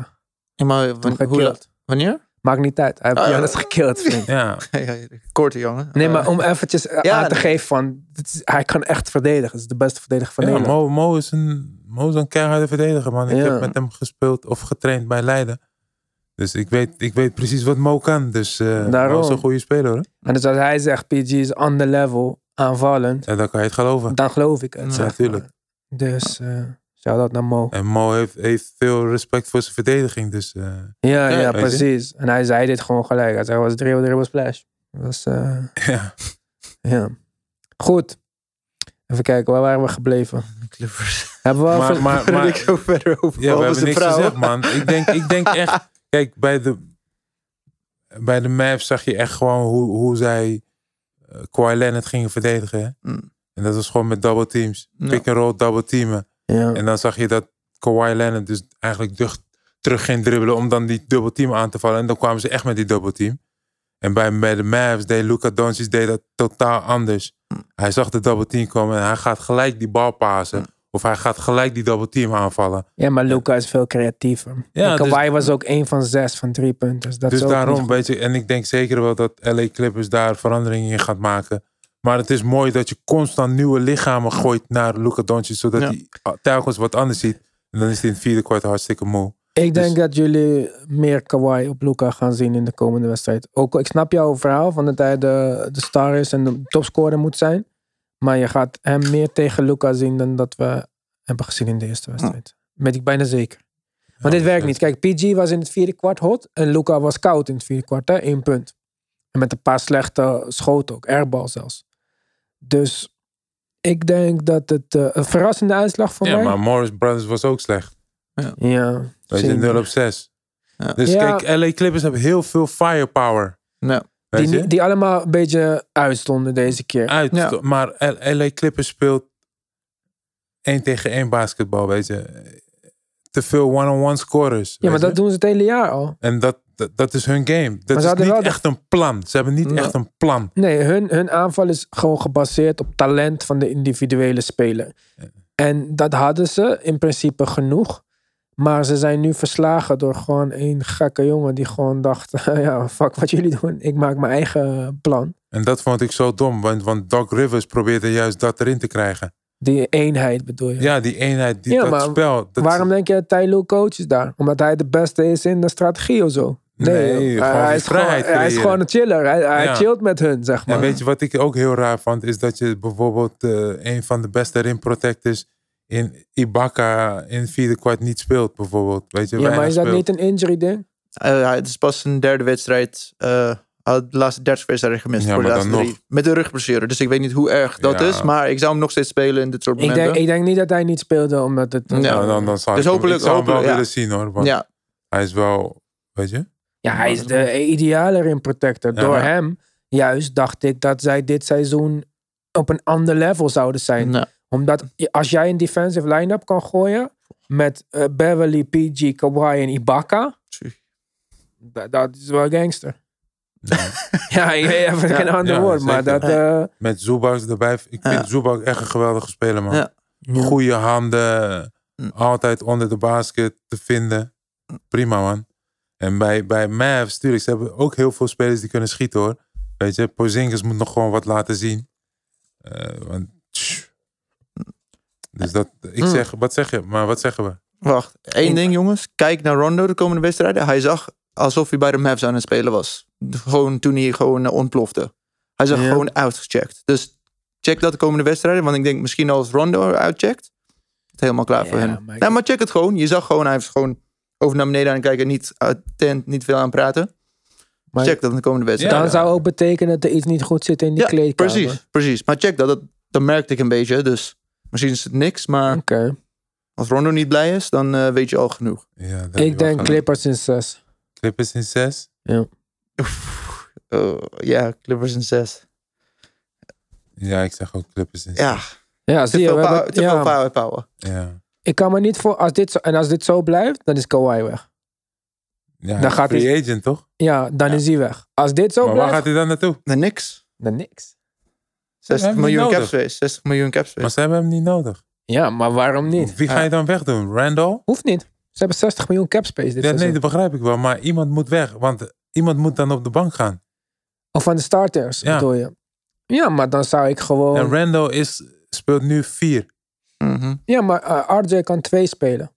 maar wan- gekillt. hoe laat? Wanneer? Maakt niet uit. Hij heeft Ah, ja. Giannis gekillt, vriend. Ja, Korte jongen. Nee, Eh, maar om eventjes eh, ja, aan te nee. geven van... dit is- hij kan echt verdedigen. Hij is de beste verdediger van ja Nederland. Mo, Mo is een, Mo is een keiharde verdediger, man. Ik Ja. heb met hem gespeeld of getraind bij Leiden. Dus ik weet, ik weet precies wat Mo kan. Dus eh Mo Daarom. is een goede speler hoor. En dus als hij zegt, PG is ander level, aanvallend... En dan kan je het geloven. dan geloof ik het. Ja, zeg maar. tuurlijk. Dus, eh shout-out naar Mo. En Mo heeft, heeft veel respect voor zijn verdediging. Dus eh, Ja, Ja, ja, weet je. precies. En hij zei dit gewoon gelijk. Hij zei, was dribbel, dribbel, splash. Dat was, eh, ja. ja. Goed. Even kijken, waar waren we gebleven? Clippers. Hebben we al Maar- ver- maar- Waar ik zo verder over. ja, we over hebben zijn niks vrouw. gezegd, man. Ik denk, ik denk echt... Kijk, bij de, bij de Mavs zag je echt gewoon hoe, hoe zij eh, Kawhi Leonard gingen verdedigen. Hè? Mm. En dat was gewoon met double teams. Ja. Pick and roll, double teamen. Ja. En dan zag je dat Kawhi Leonard dus eigenlijk terug, terug ging dribbelen... om dan die double team aan te vallen. En dan kwamen ze echt met die double team. En bij, bij de Mavs deed Luka Doncic deed dat totaal anders. Hij zag de double team komen en hij gaat gelijk die bal pasen. Of hij gaat gelijk die double team aanvallen. ja, maar Luca is veel creatiever. Ja, en dus- Kawhi was ook één van zes van drie punten. Dat Dus is ook daarom, niet- weet je, en ik denk zeker wel dat LA Clippers daar veranderingen in gaat maken. Maar het is mooi dat je constant nieuwe lichamen gooit naar Luka Doncic, zodat Ja. hij telkens wat anders ziet. En dan is hij in het vierde kwart hartstikke moe. Ik denk dat jullie meer Kawhi op Luca gaan zien in de komende wedstrijd. Ook, ik snap jouw verhaal van dat hij de, de star is en de topscorer moet zijn. Maar je gaat hem meer tegen Luca zien dan dat we hebben gezien in de eerste wedstrijd. Ben ik bijna zeker. Maar dit werkt niet. Kijk, PG was in het vierde kwart hot en Luca was koud in het vierde kwart, hè? één punt. En met een paar slechte schoten ook, airbal zelfs. Dus ik denk dat het eh, een verrassende uitslag voor Ja, mij. maar Morris Brothers was ook slecht. Ja, Weet je, zeker. 0 op 6. Ja. Dus Ja. kijk, LA Clippers hebben heel veel firepower. Nou, Weet je? Ah, Die, die allemaal een beetje uitstonden deze keer. uit. Ja. Maar L- LA Clippers speelt één tegen één basketbal, weet je. Te veel one-on-one scorers. Ja, maar weet dat je. doen ze het hele jaar al. En dat, dat, dat is hun game. Dat ze is hadden niet wel de- echt een plan. Ze hebben niet Ja. echt een plan. Nee, hun, hun aanval is gewoon gebaseerd op talent van de individuele speler. En dat hadden ze in principe genoeg. Maar ze zijn nu verslagen door gewoon één gekke jongen die gewoon dacht: ja, fuck wat jullie doen. Ik maak mijn eigen plan. En dat vond ik zo dom. Want, want Doc Rivers probeerde juist dat erin te krijgen. Die eenheid bedoel je. Ja, die eenheid, die, Ja, dat maar spel. Dat, Waarom denk je dat Tyloo coach is daar? Omdat hij de beste is in de strategie of zo? Nee, joh. gewoon hij, die is gewoon, vrijheid hij is creëren. gewoon een chiller. Hij, hij Ja. chillt met hun, zeg maar. En weet je wat ik ook heel raar vond? Is dat je bijvoorbeeld eh, een van de beste rim protectors in Ibaka in het vierde kwart niet speelt. Bijvoorbeeld. Weet je, ja, maar weinig is dat speelt. niet een injury ding? eh, het is pas een derde wedstrijd. eh, hij had de laatste 30 wedstrijden gemist Ja, voor de maar laatste dan drie. Met een rugblessure. Dus ik weet niet hoe erg dat Ja. is. Maar ik zou hem nog steeds spelen in dit soort Ik momenten. denk, ik denk niet dat hij niet speelde omdat het. Ja. Nou, dan, dan zou Dus ik hem, ik hopelijk- zou hem wel hopelijk, willen zien hoor. Want ja, hij is wel, weet je? Ja, hij is de ideale rim protector. Ja. Door hem, juist, dacht ik dat zij dit seizoen op een ander level zouden zijn. Mm. nou, Omdat je- als jij een defensive line-up kan gooien met eh, Beverly, PG, Kawhi en Ibaka, da- dat is wel gangster. ja, ik weet even Ja. geen ander Ja, woord, maar zeker. dat... eh, Met Zubac erbij. Ik Ja. vind Zubac echt een geweldige speler, man. Ja. Goede handen. Hm. Altijd onder de basket te vinden. Prima, man. En bij, bij Mavs, tuurlijk, ze hebben ook heel veel spelers die kunnen schieten, hoor. Weet je, Porzingis moet nog gewoon wat laten zien. Eh, want, tsch. Dus dat, ik Hm. zeg, wat zeg je? Maar wat zeggen we? wacht. Eén Ik- ding jongens. Kijk naar Rondo de komende wedstrijden. Hij zag alsof hij bij de Mavs aan het spelen was. Gewoon toen hij gewoon eh, ontplofte. Hij zag Ja. gewoon uitgecheckt. Dus check dat de komende wedstrijden. Want ik denk misschien als Rondo uitcheckt. Het helemaal klaar voor Ja, hem. maar ik- Nou, maar check het gewoon. Je zag gewoon, hij heeft gewoon over naar beneden aan het kijken. Niet attent, niet veel aan het praten. maar check dat in de komende wedstrijd. dan Ja. zou ook betekenen dat er iets niet goed zit in die Ja, kleedkamer. precies, precies. Maar check dat, dat. Dat merkte ik een beetje. Dus misschien is het niks, maar Oké. Als Rondo niet blij is, dan eh, weet je al genoeg. Ja, dat heb je Ik wel denk gelijk. Clippers in 6. Clippers in zes? Oef. Oh, Ja, Clippers in zes. Ja, ik zeg ook Clippers in zes. Ja, Ja, te zie je. veel, we power, hebben- te ja. veel power power. Ja. Ik kan me niet voor... Als dit zo, en als dit zo blijft, dan is Kawhi weg. ja Dan gaat free agent, toch? Ja, dan Ja. is hij weg. Als dit zo maar waar blijft, gaat hij dan naartoe? Nee, niks. dan niks. hebben 60 hem miljoen nodig. cap space. 60 miljoen cap space. Maar ze hebben hem niet nodig. Ja, maar waarom niet? Eh, Wie ga je dan wegdoen? Randall? Hoeft niet. Ze hebben 60 miljoen cap space dit Ja, nee, seizoen. dat begrijp ik wel. Maar iemand moet weg. Want iemand moet dan op de bank gaan. Of van de starters, Ja. bedoel je? Ja, maar dan zou ik gewoon... En Randall is, speelt nu vier. Mhm. Ja, maar eh, RJ kan twee spelen.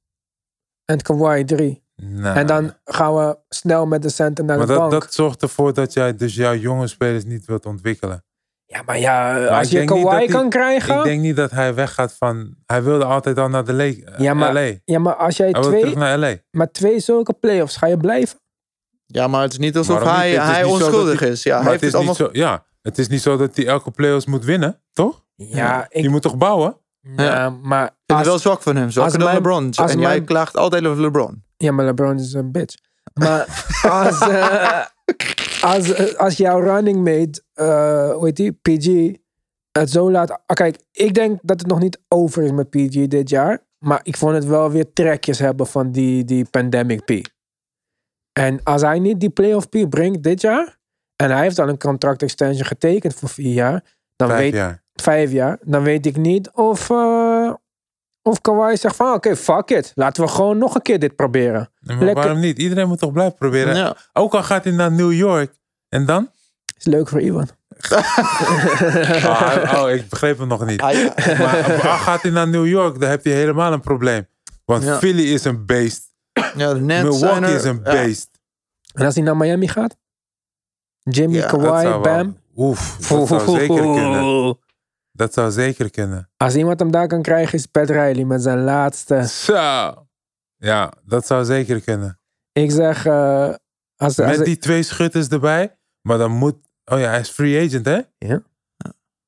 En Kawhi drie. Nou, En dan gaan we snel met de centen naar maar de dat, bank. dat zorgt ervoor dat jij dus jouw jonge spelers niet wilt ontwikkelen. Ja, maar ja, eh, als ik je denk niet dat Kawhi die- kan krijgen... Ik denk niet dat hij weggaat van... Hij wilde altijd al naar de le- Ja, maar LA. Hij Ja, maar als jij wilde twee, terug naar LA. maar twee zulke playoffs, ga je blijven? Ja, maar het is niet alsof Waarom niet? hij, Het is hij niet zo dat onschuldig hij- is. Ja, hij maar het heeft is het allemaal... niet zo, ja, het is niet zo dat hij elke playoffs moet winnen, toch? Ja, ik, Je moet toch bouwen? ja, maar Ik vind het als- wel zwak van hem. Zwakker als dan mijn- LeBron. als en jij mijn- klaagt altijd over LeBron. ja, maar LeBron is een bitch. Maar als, eh, als, eh, als jouw running mate, eh hoe heet die, PG, het zo laat... Ah, kijk, ik denk dat het nog niet over is met PG dit jaar. Maar ik vond het wel weer trekjes hebben van die, die pandemic P. En als hij niet die playoff P brengt dit jaar... en hij heeft al een contract extension getekend voor vier jaar... dan Vijf weet jaar. vijf jaar, dan weet ik niet of, eh, of Kawhi zegt van "Ah, oké, fuck it. Laten we gewoon nog een keer dit proberen. Maar Lekker. waarom niet? Iedereen moet toch blijven proberen? Ja. Ook al gaat hij naar New York. En dan? Is leuk voor Iwan. Oh, hij- oh, ik begreep hem nog niet. Ah, Hij- Maar al gaat hij naar New York, dan heb je helemaal een probleem. Want Ja. Philly is een beest. ja, de Nets zijn Milwaukee er- is een ja. beest. En als hij naar Miami gaat? Jimmy, Ja, dat Dat Kawhi, zou Bam. wel, oef, dat zou zeker kunnen. Dat zou zeker kunnen. Als iemand hem daar kan krijgen is Pat Riley met zijn laatste. Zo. Ja, dat zou zeker kunnen. Ik zeg, eh, als, als, Met die twee schutters erbij. Maar dan moet. Oh ja, hij is free agent, hè? Ja.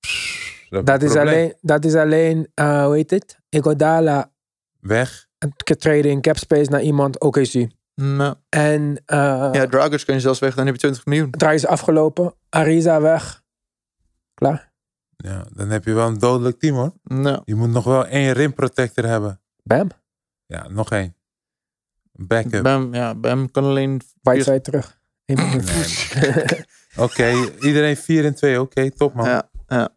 Pff, dat dat, is probleem. alleen, dat is alleen, eh, hoe heet het? Igodala Weg. treden in cap space naar iemand OKC. Nou, En eh Ja, Dragic kun je zelfs weg. Dan heb je 20 miljoen. Draai is afgelopen. Ariza weg. Klaar. Ja, dan heb je wel een dodelijk team, hoor. Nou, Je moet nog wel één rimprotector hebben. Bam. Ja, nog één. Een Backup. Bam, ja, Bam kan alleen... Whiteside terug. Nee, Oké, iedereen 4 en 2. Oké, top man. Ja.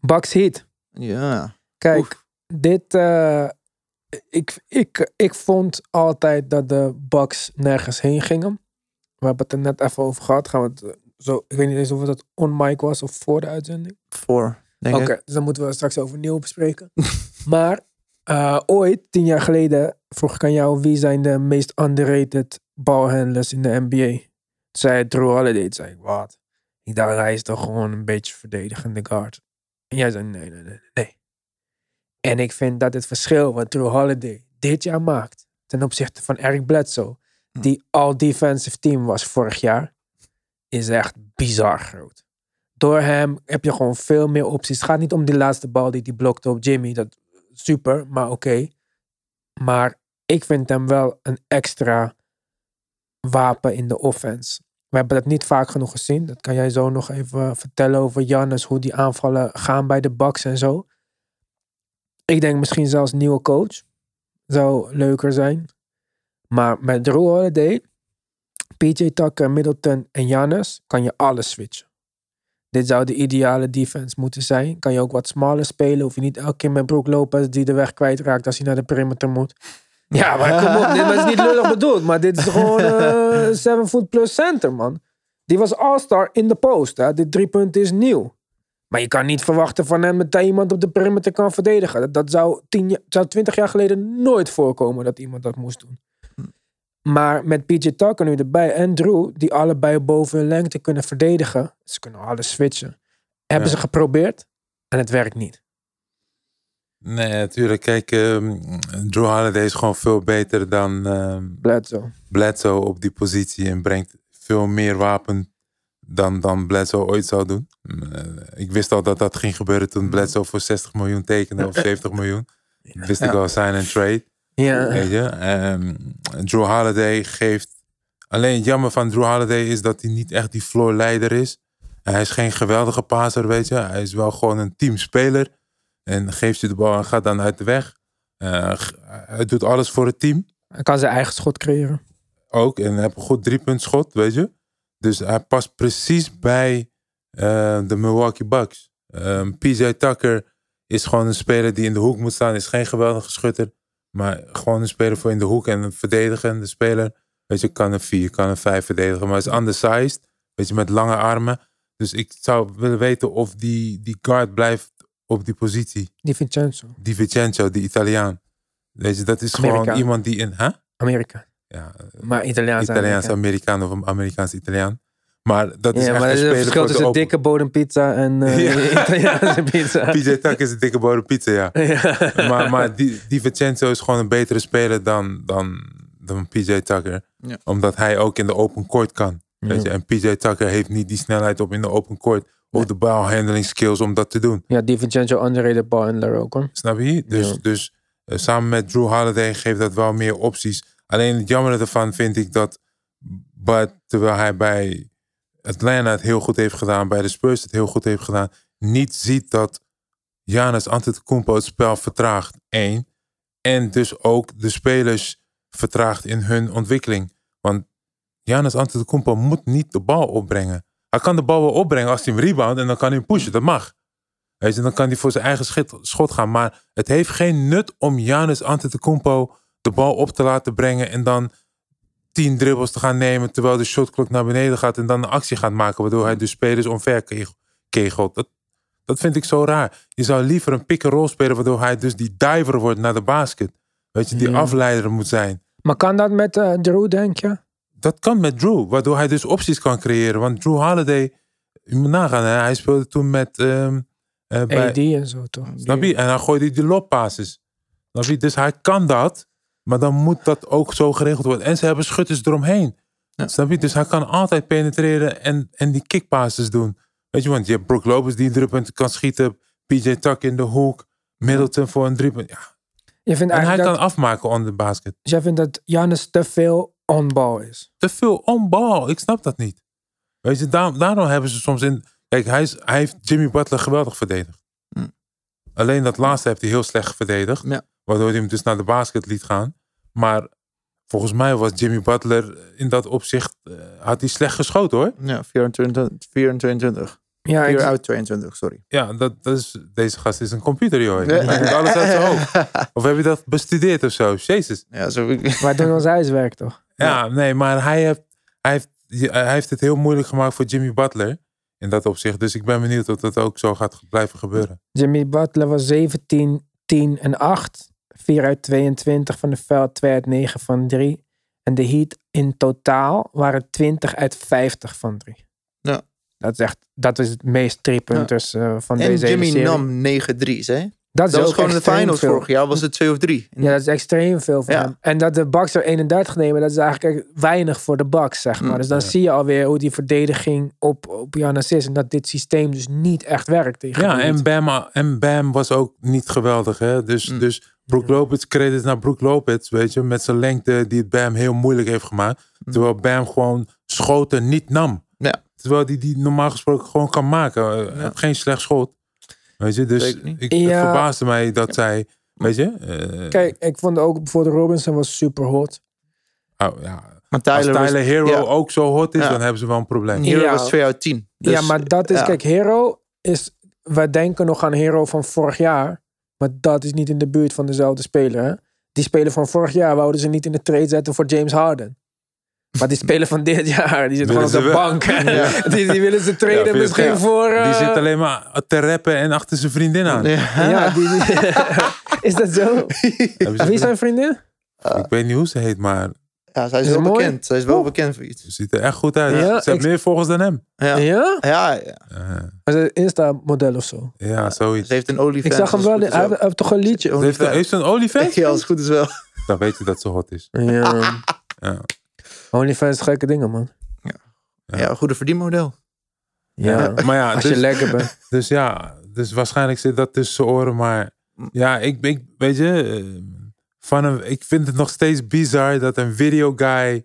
Bucks Heat. Ja. Kijk, Oef. dit... eh, ik, ik, ik vond altijd dat de Bucks nergens heen gingen. We hebben het er net even over gehad. Gaan we het eh, zo, ik weet niet eens of het on mic was of voor de uitzending. Voor, denk Oké, ik. dus dan moeten we straks overnieuw bespreken. maar eh, ooit, tien jaar geleden, vroeg ik aan jou... wie zijn de meest underrated balhandlers in de NBA? Toen zei het Drew Holiday. Toen zei ik, wat? Ik dacht, hij is toch gewoon een beetje verdedigende guard. En jij zei, nee, nee, nee, nee, nee. En ik vind dat het verschil wat Drew Holiday dit jaar maakt... ten opzichte van Eric Bledsoe... Hm. die all-defensive team was vorig jaar... is echt bizar groot door hem heb je gewoon veel meer opties. Het gaat niet om die laatste bal die hij blokte op Jimmy. Dat super, maar oké. Maar ik vind hem wel een extra wapen in de offense. We hebben dat niet vaak genoeg gezien. Dat kan jij zo nog even vertellen over Jannes. Hoe die aanvallen gaan bij de Bucks en zo. Ik denk misschien zelfs nieuwe coach. Zou leuker zijn. Maar met Drew Holiday, PJ Tucker, Middleton en Jannes kan je alles switchen. Dit zou de ideale defense moeten zijn. Kan je ook wat smaller spelen. Hoef je niet elke keer met Brook Lopez die de weg kwijtraakt als hij naar de perimeter moet. Ja, maar kom op. Dit maar het is niet lullig bedoeld. Maar dit is gewoon eh 7 foot plus center, man. Die was all-star in de post. Hè. Dit driepunt is nieuw. Maar je kan niet verwachten van hem dat hij iemand op de perimeter kan verdedigen. Dat, dat zou, tien, jaar- zou 20 jaar geleden nooit voorkomen dat iemand dat moest doen. Maar met PJ Tucker nu erbij en Drew, die allebei boven hun lengte kunnen verdedigen. Ze kunnen alles switchen. Hebben Ja. ze geprobeerd en het werkt niet. Nee, natuurlijk. Kijk, ehm, Drew Holiday is gewoon veel beter dan ehm Bledsoe. Bledsoe op die positie. En brengt veel meer wapen dan, dan Bledsoe ooit zou Mm, doen. Eh, Ik wist al dat dat ging gebeuren toen Bledsoe voor 60 miljoen tekende of 70 miljoen. Wist ik al, sign and trade. Ja. Weet je? Ehm, Drew Holiday geeft... Alleen het jammer van Drew Holiday is dat hij niet echt die floorleider is. En hij is geen geweldige passer, weet je. Hij is wel gewoon een teamspeler. En geeft je de bal en gaat dan uit de weg. Eh, g- hij doet alles voor het team Hij kan zijn eigen schot creëren. ook. En heb een goed driepuntschot, weet je. Dus hij past precies bij eh, de Milwaukee Bucks. Ehm, PJ Tucker is gewoon een speler die in de hoek moet staan. Is geen geweldige schutter. Maar gewoon een speler voor in de hoek en een verdedigende speler. Weet je, kan een 4, kan een 5 verdedigen. Maar is undersized. Weet je, met lange armen. Dus ik zou willen weten of die, die guard blijft op die positie. Die Vincenzo. Die Vincenzo, die Italiaan. Weet je, dat is gewoon Amerikaan. iemand die in... Huh? Amerika. Ja, Maar Italiaans. Italiaans, Amerika. Amerikaan of een Amerikaans Italiaan. Maar dat is Ja, echt maar een er is een speler verschil voor de tussen open- dikke bodempizza en eh, Ja. Italiaanse pizza. PJ Tak is een dikke bodem pizza, ja. Ja. maar maar die, die Vincenzo is gewoon een betere speler dan, dan, dan PJ Tucker. Ja. Omdat hij ook in de open court kan. Weet je? En PJ Tucker heeft niet die snelheid op in de open court. Of de balhandling skills om dat te doen. Ja, die Vincenzo underrated ballhandler ook hoor. Snap je? Dus, Ja. dus eh, samen met Drew Holiday geeft dat wel meer opties. Alleen het jammer ervan vind ik dat Bud, terwijl hij bij Atlanta het heel goed heeft gedaan, bij de Spurs het heel goed heeft gedaan, niet ziet dat Giannis Antetokounmpo het spel vertraagt. Eén. En dus ook de spelers vertraagt in hun ontwikkeling. Want Giannis Antetokounmpo moet niet de bal opbrengen. Hij kan de bal wel opbrengen als hij hem rebound en dan kan hij hem pushen. Dat mag. Weet je, dan kan hij voor zijn eigen schit- schot gaan. Maar het heeft geen nut om Giannis Antetokounmpo de bal op te laten brengen en dan tien dribbles te gaan nemen terwijl de shotklok naar beneden gaat en dan een actie gaat maken waardoor hij de spelers omver keg- kegelt. Dat, dat vind ik zo raar. Je zou liever een pick-and-roll spelen waardoor hij dus die diver wordt naar de basket. Weet je, die Ja. afleider moet zijn. Maar kan dat met eh Drew, denk je? Dat kan met Drew, waardoor hij dus opties kan creëren. Want Drew Holiday, je moet nagaan, hè, hij speelde toen met... ehm, eh, bij, AD en zo toch? Snap je? En dan gooit hij die loppasses. Snap je? Dus hij kan dat, maar dan moet dat ook zo geregeld worden. En ze hebben schutters eromheen. Snap je? Dus hij kan altijd penetreren en, en die kickpasses doen. Weet je, want je hebt Brook Lopez die een driepunt kan schieten. PJ Tuck in de hoek. Middleton voor een driepunt. Ja. Je vindt En hij eigenlijk kan Nou, dat, afmaken onder de basket. dus jij vindt dat Giannis te veel on-ball is. Te veel on-ball. Ik snap dat niet. Weet je, daar- daarom hebben ze soms in... Kijk, hij, is, hij heeft Jimmy Butler geweldig verdedigd. Hm. Alleen dat laatste heeft hij heel slecht verdedigd. Ja. Waardoor hij hem dus naar de basket liet gaan. Maar volgens mij was Jimmy Butler in dat opzicht... eh, had hij slecht geschoten hoor. Ja, 24. 24. Ja, 4 ik, uit 22, sorry. Ja, dat, dat is, deze gast is een computer joh. Ja. Hij doet alles uit zijn hoofd. Of heb je dat bestudeerd of zo? Jezus. Ja, zo, ik- wij doen ons huiswerk toch? Ja, nee, maar hij heeft, hij, heeft, je- hij heeft het heel moeilijk gemaakt voor Jimmy Butler. In dat opzicht. Dus ik ben benieuwd of dat ook zo gaat ge- blijven gebeuren. Jimmy Butler was 17, 10 en 8. 4 uit 22 van de veld, 2 uit 9 van 3. En de Heat in totaal waren 20 uit 50 van 3. Ja. Dat is echt, dat is het meest driepunters eh, van en deze hele Jimmy serie. nam 9-3's, hè? dat is Dat ook was gewoon de extreem finals veel. vorig jaar, was het 2 of 3. Ja, dat is extreem veel voor Ja. hem. En dat de Bucks er 31 nemen, dat is eigenlijk echt weinig voor de Bucks, zeg maar. Mm, dus dan ja. zie je alweer hoe die verdediging op, op Giannis is. En dat dit systeem dus niet echt werkt tegen Ja, die en Heat. Bam, eh, en Bam was ook niet geweldig. Hè? Dus, Mm. dus Brook Lopez, credits naar Brook Lopez. Weet je, met zijn lengte die het Bam heel moeilijk heeft gemaakt. Terwijl Bam gewoon schoten niet nam. Ja. Terwijl hij die normaal gesproken gewoon kan maken. Eh, hij Ja. heeft Geen slecht schot. Weet je, dus Zeker niet. ik, het Ja. verbaasde mij dat zij. Weet je? eh, Kijk, ik vond ook bijvoorbeeld Robinson was super hot. oh, ja, Maar Als Tyler, Tyler was, Hero ja. ook zo hot is, Ja. dan hebben ze wel een probleem. Ja. Hero was 2 uit 10. Dus, ja, maar dat is, ja. kijk, Hero is, wij denken nog aan Hero van vorig jaar. Maar dat is niet in de buurt van dezelfde speler. Hè? Die speler van vorig jaar wouden ze niet in de trade zetten voor James Harden. Maar die speler van dit jaar, die zit gewoon Willen op de ze wel. bank. Ja. Die, die willen ze traden Ja, misschien ja. voor... eh, Die zit alleen maar te rappen en achter zijn vriendin aan. Ja. Ja, die, die- is dat zo? Hebben ze- Wie zijn vrienden? Ik weet niet hoe ze heet, maar Ja, zij is, Is wel het mooi? bekend. Zij is wel bekend voor iets. ze ziet er echt goed uit. Ja, ze heeft ik- meer volgers dan hem. Ja, ja. Ja? ja. Eh, Hij is een Insta-model of zo. ja, zoiets. Ze heeft een olifant. Ik zag hem wel, hij heeft toch een liedje? Ze heeft, heeft ze een olifant? Ja, als het goed is wel. Dan weet je dat ze hot is. Ja. Ja. OnlyFans, gekke dingen, man. Ja. Ja, een goede verdienmodel. Ja. Maar ja, Als je dus, lekker bent. dus ja, dus waarschijnlijk zit dat tussen zijn oren. Maar Ja, ik, ik weet je, eh, van een, ik vind het nog steeds bizar dat een video guy eh,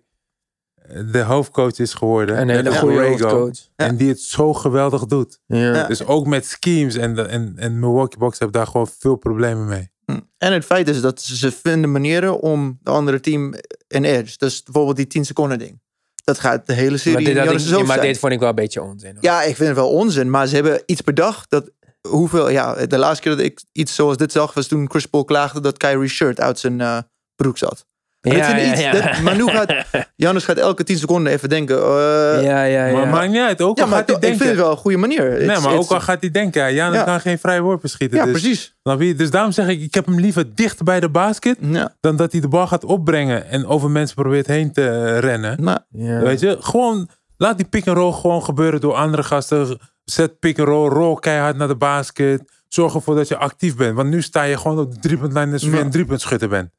de hoofdcoach is geworden. Een hele Net als goede Borrego. hoofdcoach. En die het zo geweldig doet. Ja. Dus ook met schemes en, de- en, en Milwaukee Bucks hebben daar gewoon veel problemen mee. En het feit is dat ze vinden manieren om de andere team een edge. Dus bijvoorbeeld die 10 seconden ding. Dat gaat de hele Maar, serie dit, in had ik- Jonas' hoofd maar zijn. dit vond ik wel een beetje onzin. hoor. Ja, ik vind het wel onzin. Maar ze hebben iets bedacht dat hoeveel... Ja, de laatste keer dat ik iets zoals dit zag was toen Chris Paul klaagde dat Kyrie shirt uit zijn eh, broek zat. Maar dit ja, vind ik iets- dat- maar nu gaat- Janus gaat elke 10 seconden even denken. eh, ja, ja, ja, Maar ja. maakt niet uit, ook al maar gaat hij ik vind denken. het wel een goede manier. nee, It's- maar it's- ook al gaat hij denken. Ja, Jan Ja. kan geen vrije worpen schieten. Ja, dus, precies. Snap je? Dus daarom zeg ik, ik heb hem liever dicht bij de basket Ja, dan dat hij de bal gaat opbrengen en over mensen probeert heen te eh, rennen. maar Ja. Weet je, gewoon laat die pick and roll gewoon gebeuren door andere gasten. Zet pick and roll, roll keihard naar de basket. Zorg ervoor dat je actief bent. Want nu sta je gewoon op de driepuntlijn alsof je Ja. een driepunt schutter bent.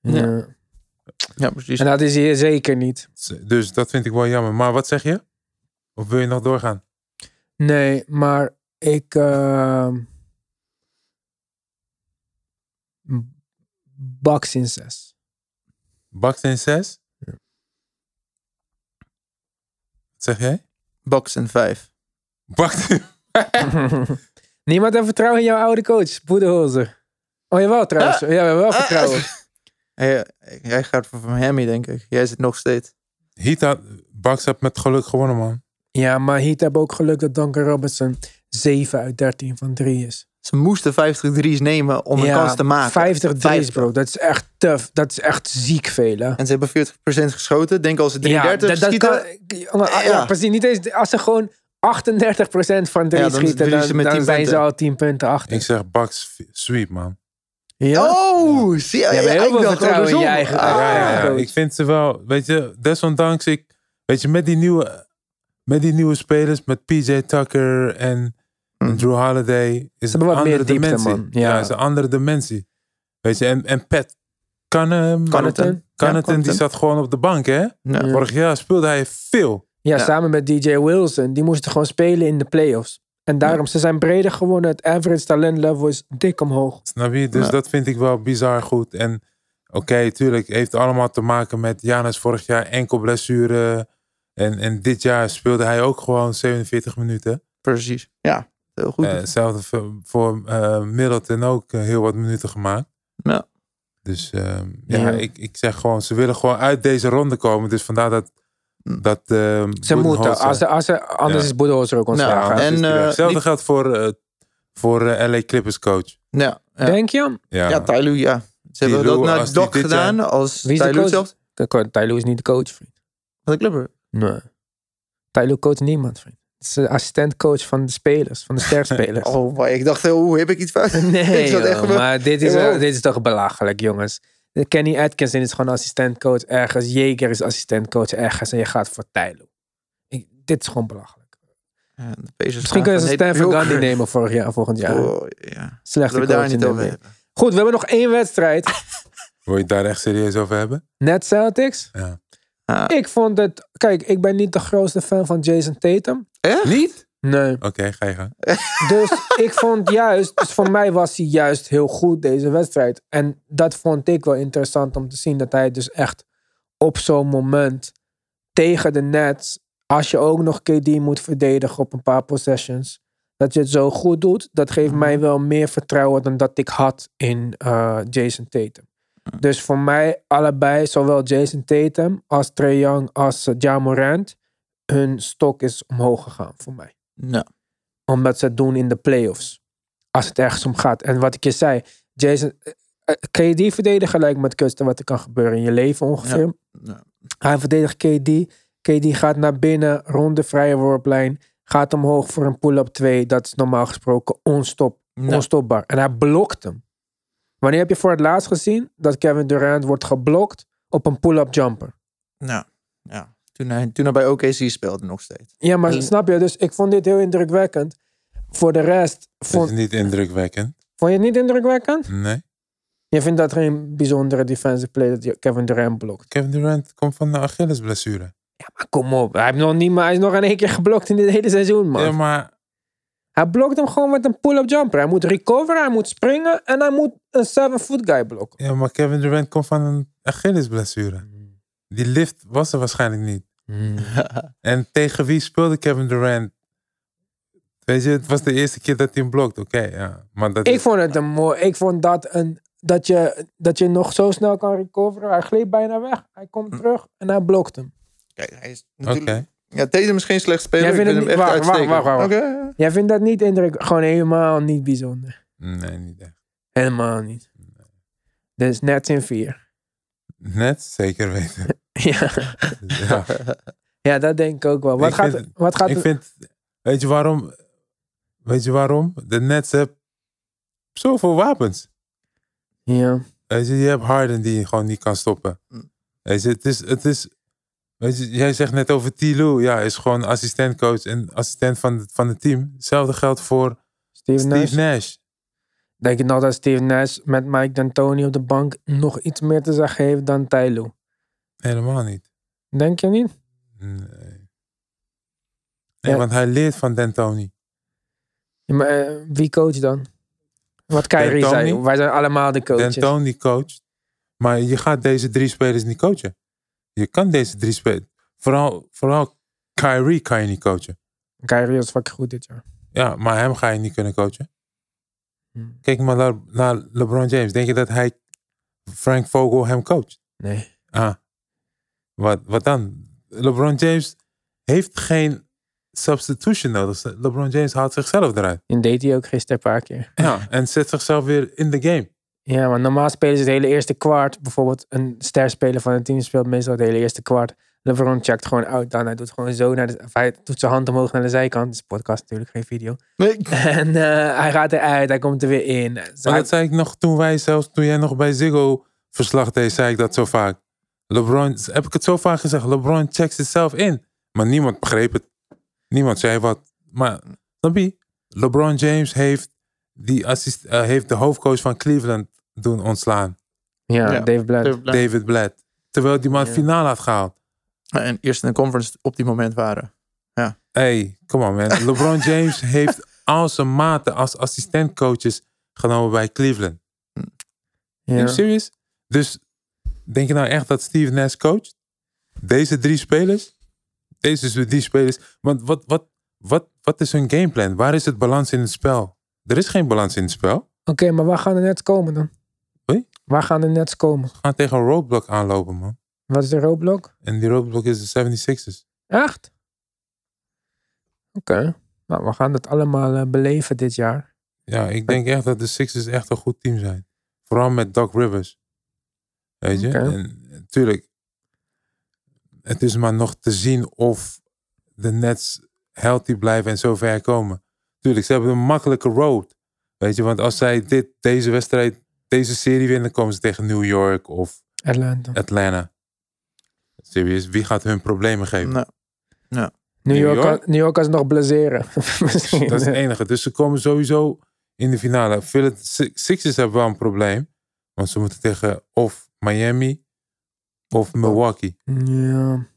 Ja. ja, precies. En dat is hier zeker niet. Dus dat vind ik wel jammer. Maar wat zeg je? Of wil je nog doorgaan? Nee, maar ik. ehm Bucks in zes. Bucks in 6? Wat zeg jij? Bucks en 5. Bucks in Niemand heeft vertrouwen in jouw oude coach, Boedeholzer. Oh, jawel trouwens. Ja, we hebben wel Ah. vertrouwen. Jij, jij gaat voor Miami, denk ik. Jij zit nog steeds. Heat had, Bucks had met geluk gewonnen, man. Ja, maar Heat hebben ook geluk dat Duncan Robinson 7 uit 13 van 3 is. Ze moesten 50 drie's nemen om een Ja, kans te maken. 50 drie's, 50. bro. Dat is echt tough. Dat is echt ziek veel, hè. En ze hebben 40% geschoten. Denk als ze 33 dat- dat schieten. kan- maar- ja, Ja. precies. Niet eens, als ze gewoon 38% van drie Ja, dan schieten, verliezen ze dan, met dan 10 zijn ze punten. al 10 punten achter. Ik zeg Bucks f- sweep, man. ja? Oh, zie je. Je hebt ja, heel ik veel dacht vertrouwen in je andersom. eigen- Ah. ja, ja, ja. coach. ik vind ze wel. Weet je, desondanks ik. Weet je, met die nieuwe, met die nieuwe spelers, met PJ Tucker en Mhm. Drew Holiday, is het hebben een wat andere meer diepte, dimensie. man. Ja. Ja. is een andere dimensie. Weet je, en, en Pat Connaughton, Connaughton. Connaughton, Connaughton, die Connaughton. zat gewoon op de bank, hè? Ja. Vorig jaar speelde hij veel. Ja, Ja. samen met DJ Wilson. Die moesten gewoon spelen in de playoffs. En daarom, ze zijn breder geworden. Het average talent level is dik omhoog. Snap je? Dus Ja. dat vind ik wel bizar goed. En oké, tuurlijk, heeft allemaal te maken met Janus vorig jaar enkel blessure. En, en dit jaar speelde hij ook gewoon 47 minuten. Precies. Ja, heel goed. Eh, Hetzelfde voor, voor eh, Middleton ook eh, heel wat minuten gemaakt. Ja. Dus ehm, ja, Ja. Ik, ik zeg gewoon, ze willen gewoon uit deze ronde komen. Dus vandaar dat... dat ehm, Ze Budenholzer- moeten. Als ze, als ze, anders Ja. is Boedeholzer ook Ja, ontslagen. Nou, anders En, is die eh, weg. Hetzelfde niet- geldt voor, eh, voor eh, LA Clippers coach. ja, ja. Denk je? Ja, ja Tyloo, ja. Ze Die hebben Lou, dat naar als die Doc dit eh, jaar- gedaan. Als Wie is de Tyloo coach? zelf. Tylo is niet de coach, vriend. Van de Clipper. Nee. Tylo coacht niemand, vriend. Het is de assistentcoach van de spelers, van de sterspelers. Oh, boy. Ik dacht, hoe heb ik iets fout? Nee, ik zat echt joh, gewoon- maar dit is, in mijn hoofd. dit is toch belachelijk, jongens. Kenny Atkinson is gewoon assistentcoach ergens. Jeker is assistentcoach ergens. En je gaat voor Tylo. Ik- Dit is gewoon belachelijk. Ja, de Pacers Misschien gaan kunnen ze van Stan Nate Van Gundy Joker. nemen vorig jaar, volgend jaar. Oh, ja. Slechte Laten we daar coach in niet de over NBA. hebben. Goed, we hebben nog één wedstrijd. Wil je het daar echt serieus over hebben? Net Celtics. Ja. Ah. Ik vond het... Kijk, ik ben niet de grootste fan van Jason Tatum. Echt? Niet? Nee. Oké, ga je gaan. Dus ik vond juist, dus voor mij was hij juist heel goed deze wedstrijd. En dat vond ik wel interessant om te zien. Dat hij dus echt op zo'n moment tegen de Nets, als je ook nog KD moet verdedigen op een paar possessions, dat je het zo goed doet, dat geeft Mhm. mij wel meer vertrouwen dan dat ik had in eh, Jason Tatum. Dus voor mij allebei, zowel Jason Tatum als Trae Young als eh, Ja Morant, hun stok is omhoog gegaan voor mij Nou, omdat ze het doen in de playoffs. Als het ergens om gaat. En wat ik je zei, Jason, eh, eh, KD verdedigen lijkt me het kutste wat er kan gebeuren in je leven ongeveer. nou. Hij verdedigt KD. KD gaat naar binnen, rond de vrije worplijn. Gaat omhoog voor een pull-up 2. Dat is normaal gesproken onstop, Nou. onstopbaar. En hij blokt hem. Wanneer heb je voor het laatst gezien dat Kevin Durant wordt geblokt op een pull-up jumper? Nou, ja. Toen hij, toen hij bij OKC speelde nog steeds. Ja, maar En- snap je? Dus ik vond dit heel indrukwekkend. Voor de rest, Dat is vond, niet indrukwekkend. vond je het niet indrukwekkend? Nee. Je vindt dat geen bijzondere defensive play dat je Kevin Durant blokt. Ah, Kevin Durant komt van de Achillesblessure. Maar kom op, hij, heeft nog niet, maar hij is nog in één keer geblokt in dit hele seizoen, man. Ja, maar Hij blokt hem gewoon met een pull-up jumper. Hij moet recoveren, hij moet springen en hij moet een seven-foot guy blokken. Ja, maar Kevin Durant komt van een Achillesblessure. Die lift was er waarschijnlijk niet. En tegen wie speelde Kevin Durant? Weet je, het was de eerste keer dat hij hem blokt. Oké, ja. Maar dat Ik is- vond het een mooi. Ik vond dat een. Dat je, dat je nog zo snel kan recoveren. Hij gleed bijna weg. Hij Mm. komt terug en hij blokt hem. Kijk, hij is Oké. natuurlijk... Ja, deze misschien slecht speler. Jij Ik vindt vind hem hem echt niet- wacht, wacht, uitstekend. wacht, wacht, Oké, ja, ja. Jij vindt dat niet indruk, gewoon helemaal niet bijzonder. Nee, niet echt. Helemaal niet. Dus net in vier. Net zeker weten. Ja, ja. ja dat denk ik ook wel. Wat Ik gaat, vind- wat gaat Ik vind, weet je waarom? Weet je waarom? De Nets hebben zoveel wapens. Ja. Weet je, je hebt Harden die je gewoon niet kan stoppen. Mm. Weet je, het is, het is, weet je, jij zegt net over T. Lou. Ja, is gewoon assistentcoach en assistent van, het- van het team. Hetzelfde geldt voor Steve, Steve Nash. Nash. Denk je nog dat Steve Nash met Mike D'Antoni op de bank nog iets meer te zeggen heeft dan Tyloo? Helemaal niet. Denk je niet? Nee. Nee, Ja. want hij leert van D'Antoni. Ja, maar eh, wie coach dan? Wat Kyrie D'Antoni? zei, wij zijn allemaal de coaches. D'Antoni coacht. Maar je gaat deze drie spelers niet coachen. Je kan deze drie spelers... Vooral, vooral Kyrie kan je niet coachen. Kyrie was fucking goed dit jaar. Ja, maar hem ga je niet kunnen coachen. Hmm. Kijk maar naar, naar LeBron James. Denk je dat hij Frank Vogel hem coacht? Nee. Ah, wat, wat dan? LeBron James heeft geen substitution nodig. LeBron James haalt zichzelf eruit. En deed hij ook gisteren een paar keer. Ja, en zet zichzelf weer in de game. Ja, want normaal spelen ze het hele eerste kwart. Bijvoorbeeld een sterspeler van het team speelt meestal het hele eerste kwart. LeBron checkt gewoon out dan. Hij doet gewoon zo naar de... Of hij doet zijn hand omhoog naar de zijkant. Het is een podcast natuurlijk, geen video. Nee. En eh, hij gaat eruit, hij komt er weer in. Zo, Maar hij- dat zei ik nog toen wij zelfs, toen jij nog bij Ziggo verslag deed, zei ik dat zo vaak. LeBron, heb ik het zo vaak gezegd, LeBron checkt zichzelf in. Maar niemand begreep het. Niemand zei wat. Maar, snap je? LeBron James heeft, die assist, eh, heeft de hoofdcoach van Cleveland doen ontslaan. ja, Ja. Dave Blatt. David Blatt. Terwijl die man Ja. finale had gehaald. Nou, En eerst in de conference op die moment waren. Hey, come on man. LeBron James heeft al zijn maten als assistentcoaches genomen bij Cleveland. Ja. Are you serious? Dus denk je nou echt dat Steve Nash coacht? Deze drie spelers? Deze drie spelers. Want wat, wat, wat, wat is hun gameplan? Waar is het balans in het spel? Er is geen balans in het spel. Oké, maar waar gaan de nets komen dan? Oei? Waar gaan de nets komen? We gaan tegen een roadblock aanlopen, man. Wat is de roadblock? En die roadblock is de 76ers. Echt? Oké. Nou, we gaan dat allemaal eh, beleven dit jaar. Ja, ik denk echt dat de Sixers echt een goed team zijn. Vooral met Doc Rivers. Weet je? Oké. En natuurlijk, het is maar nog te zien of de Nets healthy blijven en zo ver komen. Tuurlijk, ze hebben een makkelijke road. Weet je, want als zij dit, deze wedstrijd, deze serie winnen, komen ze tegen New York of Atlanta. Eh, Atlanta. Serieus, wie gaat hun problemen geven? Nou, New New York, York? Kan, New York kan ze nog blesseren. Misschien. Dat is het enige. Dus ze komen sowieso in de finale. Phila- Si- Sixers hebben wel een probleem. Want ze moeten tegen of Miami of Milwaukee. Ja.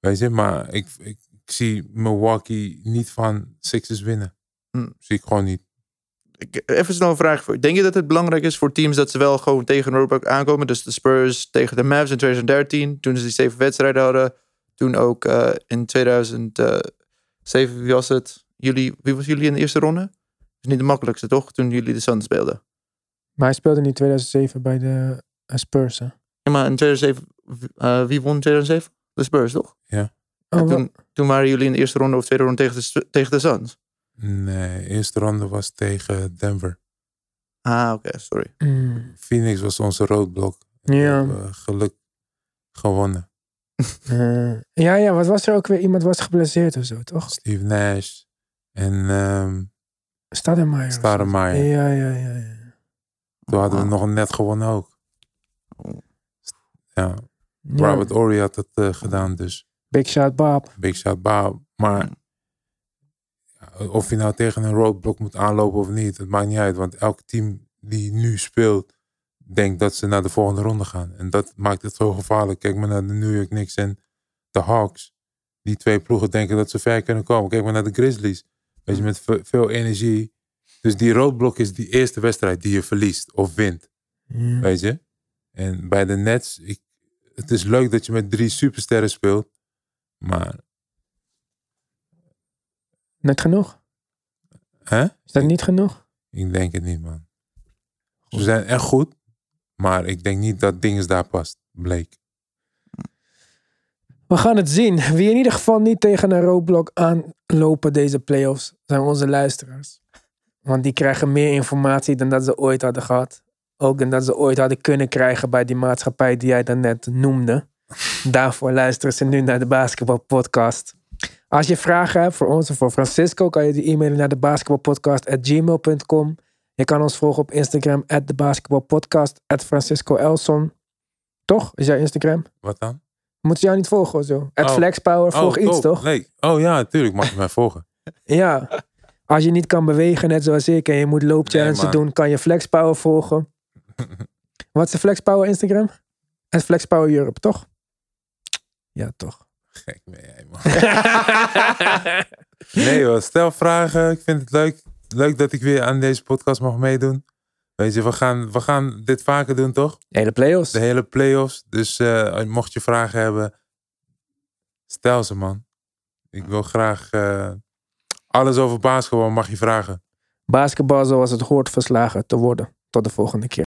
Weet je, maar ik, ik, ik zie Milwaukee niet van Sixers winnen. Hmm. Zie ik gewoon niet. Ik, even snel een vraag voor je. Denk je dat het belangrijk is voor teams dat ze wel gewoon tegen een roadblock aankomen? Dus de Spurs tegen de Mavs in 2013, toen ze die zeven wedstrijden hadden. Toen ook eh, in 2007, wie was het? Jullie, wie was jullie in de eerste ronde? is niet de makkelijkste, toch? Toen jullie de Suns speelden. Maar hij speelde in 2007 bij de eh, Spurs. hè? Ja, maar in 2007, eh, wie won in 2007? De Spurs, toch? Oh, En wa- toen, toen waren jullie in de eerste ronde of tweede ronde tegen de, Stu- tegen de Suns. Nee, eerste ronde was tegen Denver. Ah, oké, sorry. Mm. Phoenix was onze roadblock. We Ja. hebben geluk gewonnen. Eh, ja, ja, wat was er ook weer? Iemand was geblesseerd of zo, toch? Steve Nash en ehm Stademeyer. of zo. Stoudemire. Ja, ja, ja. ja. Toen hadden we Ah. nog een net gewonnen ook. Ja, Ja. Robert Ory had dat eh, gedaan, dus Big shout, Bob. Big Shot Baal. Maar ja, of je nou tegen een roadblock moet aanlopen of niet, het maakt niet uit. Want elk team die nu speelt, denkt dat ze naar de volgende ronde gaan. En dat maakt het zo gevaarlijk. Kijk maar naar de New York Knicks en de Hawks. Die twee ploegen denken dat ze ver kunnen komen. Kijk maar naar de Grizzlies. Weet je, met ve- veel energie. Dus die roadblock is die eerste wedstrijd die je verliest of wint. Ja. Weet je? En bij de Nets, ik, het is leuk dat je met drie supersterren speelt. Maar, Net genoeg? hè? Is dat niet genoeg? Ik denk het niet, man. Ze zijn echt goed. Maar ik denk niet dat Dinges daar past, bleek. We gaan het zien. Wie in ieder geval niet tegen een roadblock aanlopen deze playoffs, zijn onze luisteraars. Want die krijgen meer informatie dan dat ze ooit hadden gehad. Ook dan dat ze ooit hadden kunnen krijgen bij die maatschappij die jij daarnet noemde. Daarvoor luisteren ze nu naar de basketbalpodcast. Als je vragen hebt voor ons of voor Francisco, kan je die e-mailen naar de basketbalpodcast@gmail.com. Je kan ons volgen op Instagram, at de basketbalpodcast, at Francisco Elson. Toch? Is jouw Instagram? Wat dan? Moeten ze jou niet volgen of zo? Het Oh. Flexpower, volg iets dope. toch? Nee. Oh ja, natuurlijk mag je mij volgen. Ja. Als je niet kan bewegen, net zoals ik, en je moet loopchallenges Nee, man. doen, kan je Flexpower volgen. Wat is de Flexpower Instagram? Het Flexpower Europe, toch? Ja, toch. Gek ben jij, man. Nee hoor, stel vragen. Ik vind het leuk. Leuk dat ik weer aan deze podcast mag meedoen. Weet je, we gaan, we gaan dit vaker doen, toch? Hele playoffs. De hele playoffs. Dus eh, mocht je vragen hebben, stel ze, man. Ik wil graag eh, alles over basketbal mag je vragen. Basketbal zoals het hoort verslagen te worden. Tot de volgende keer.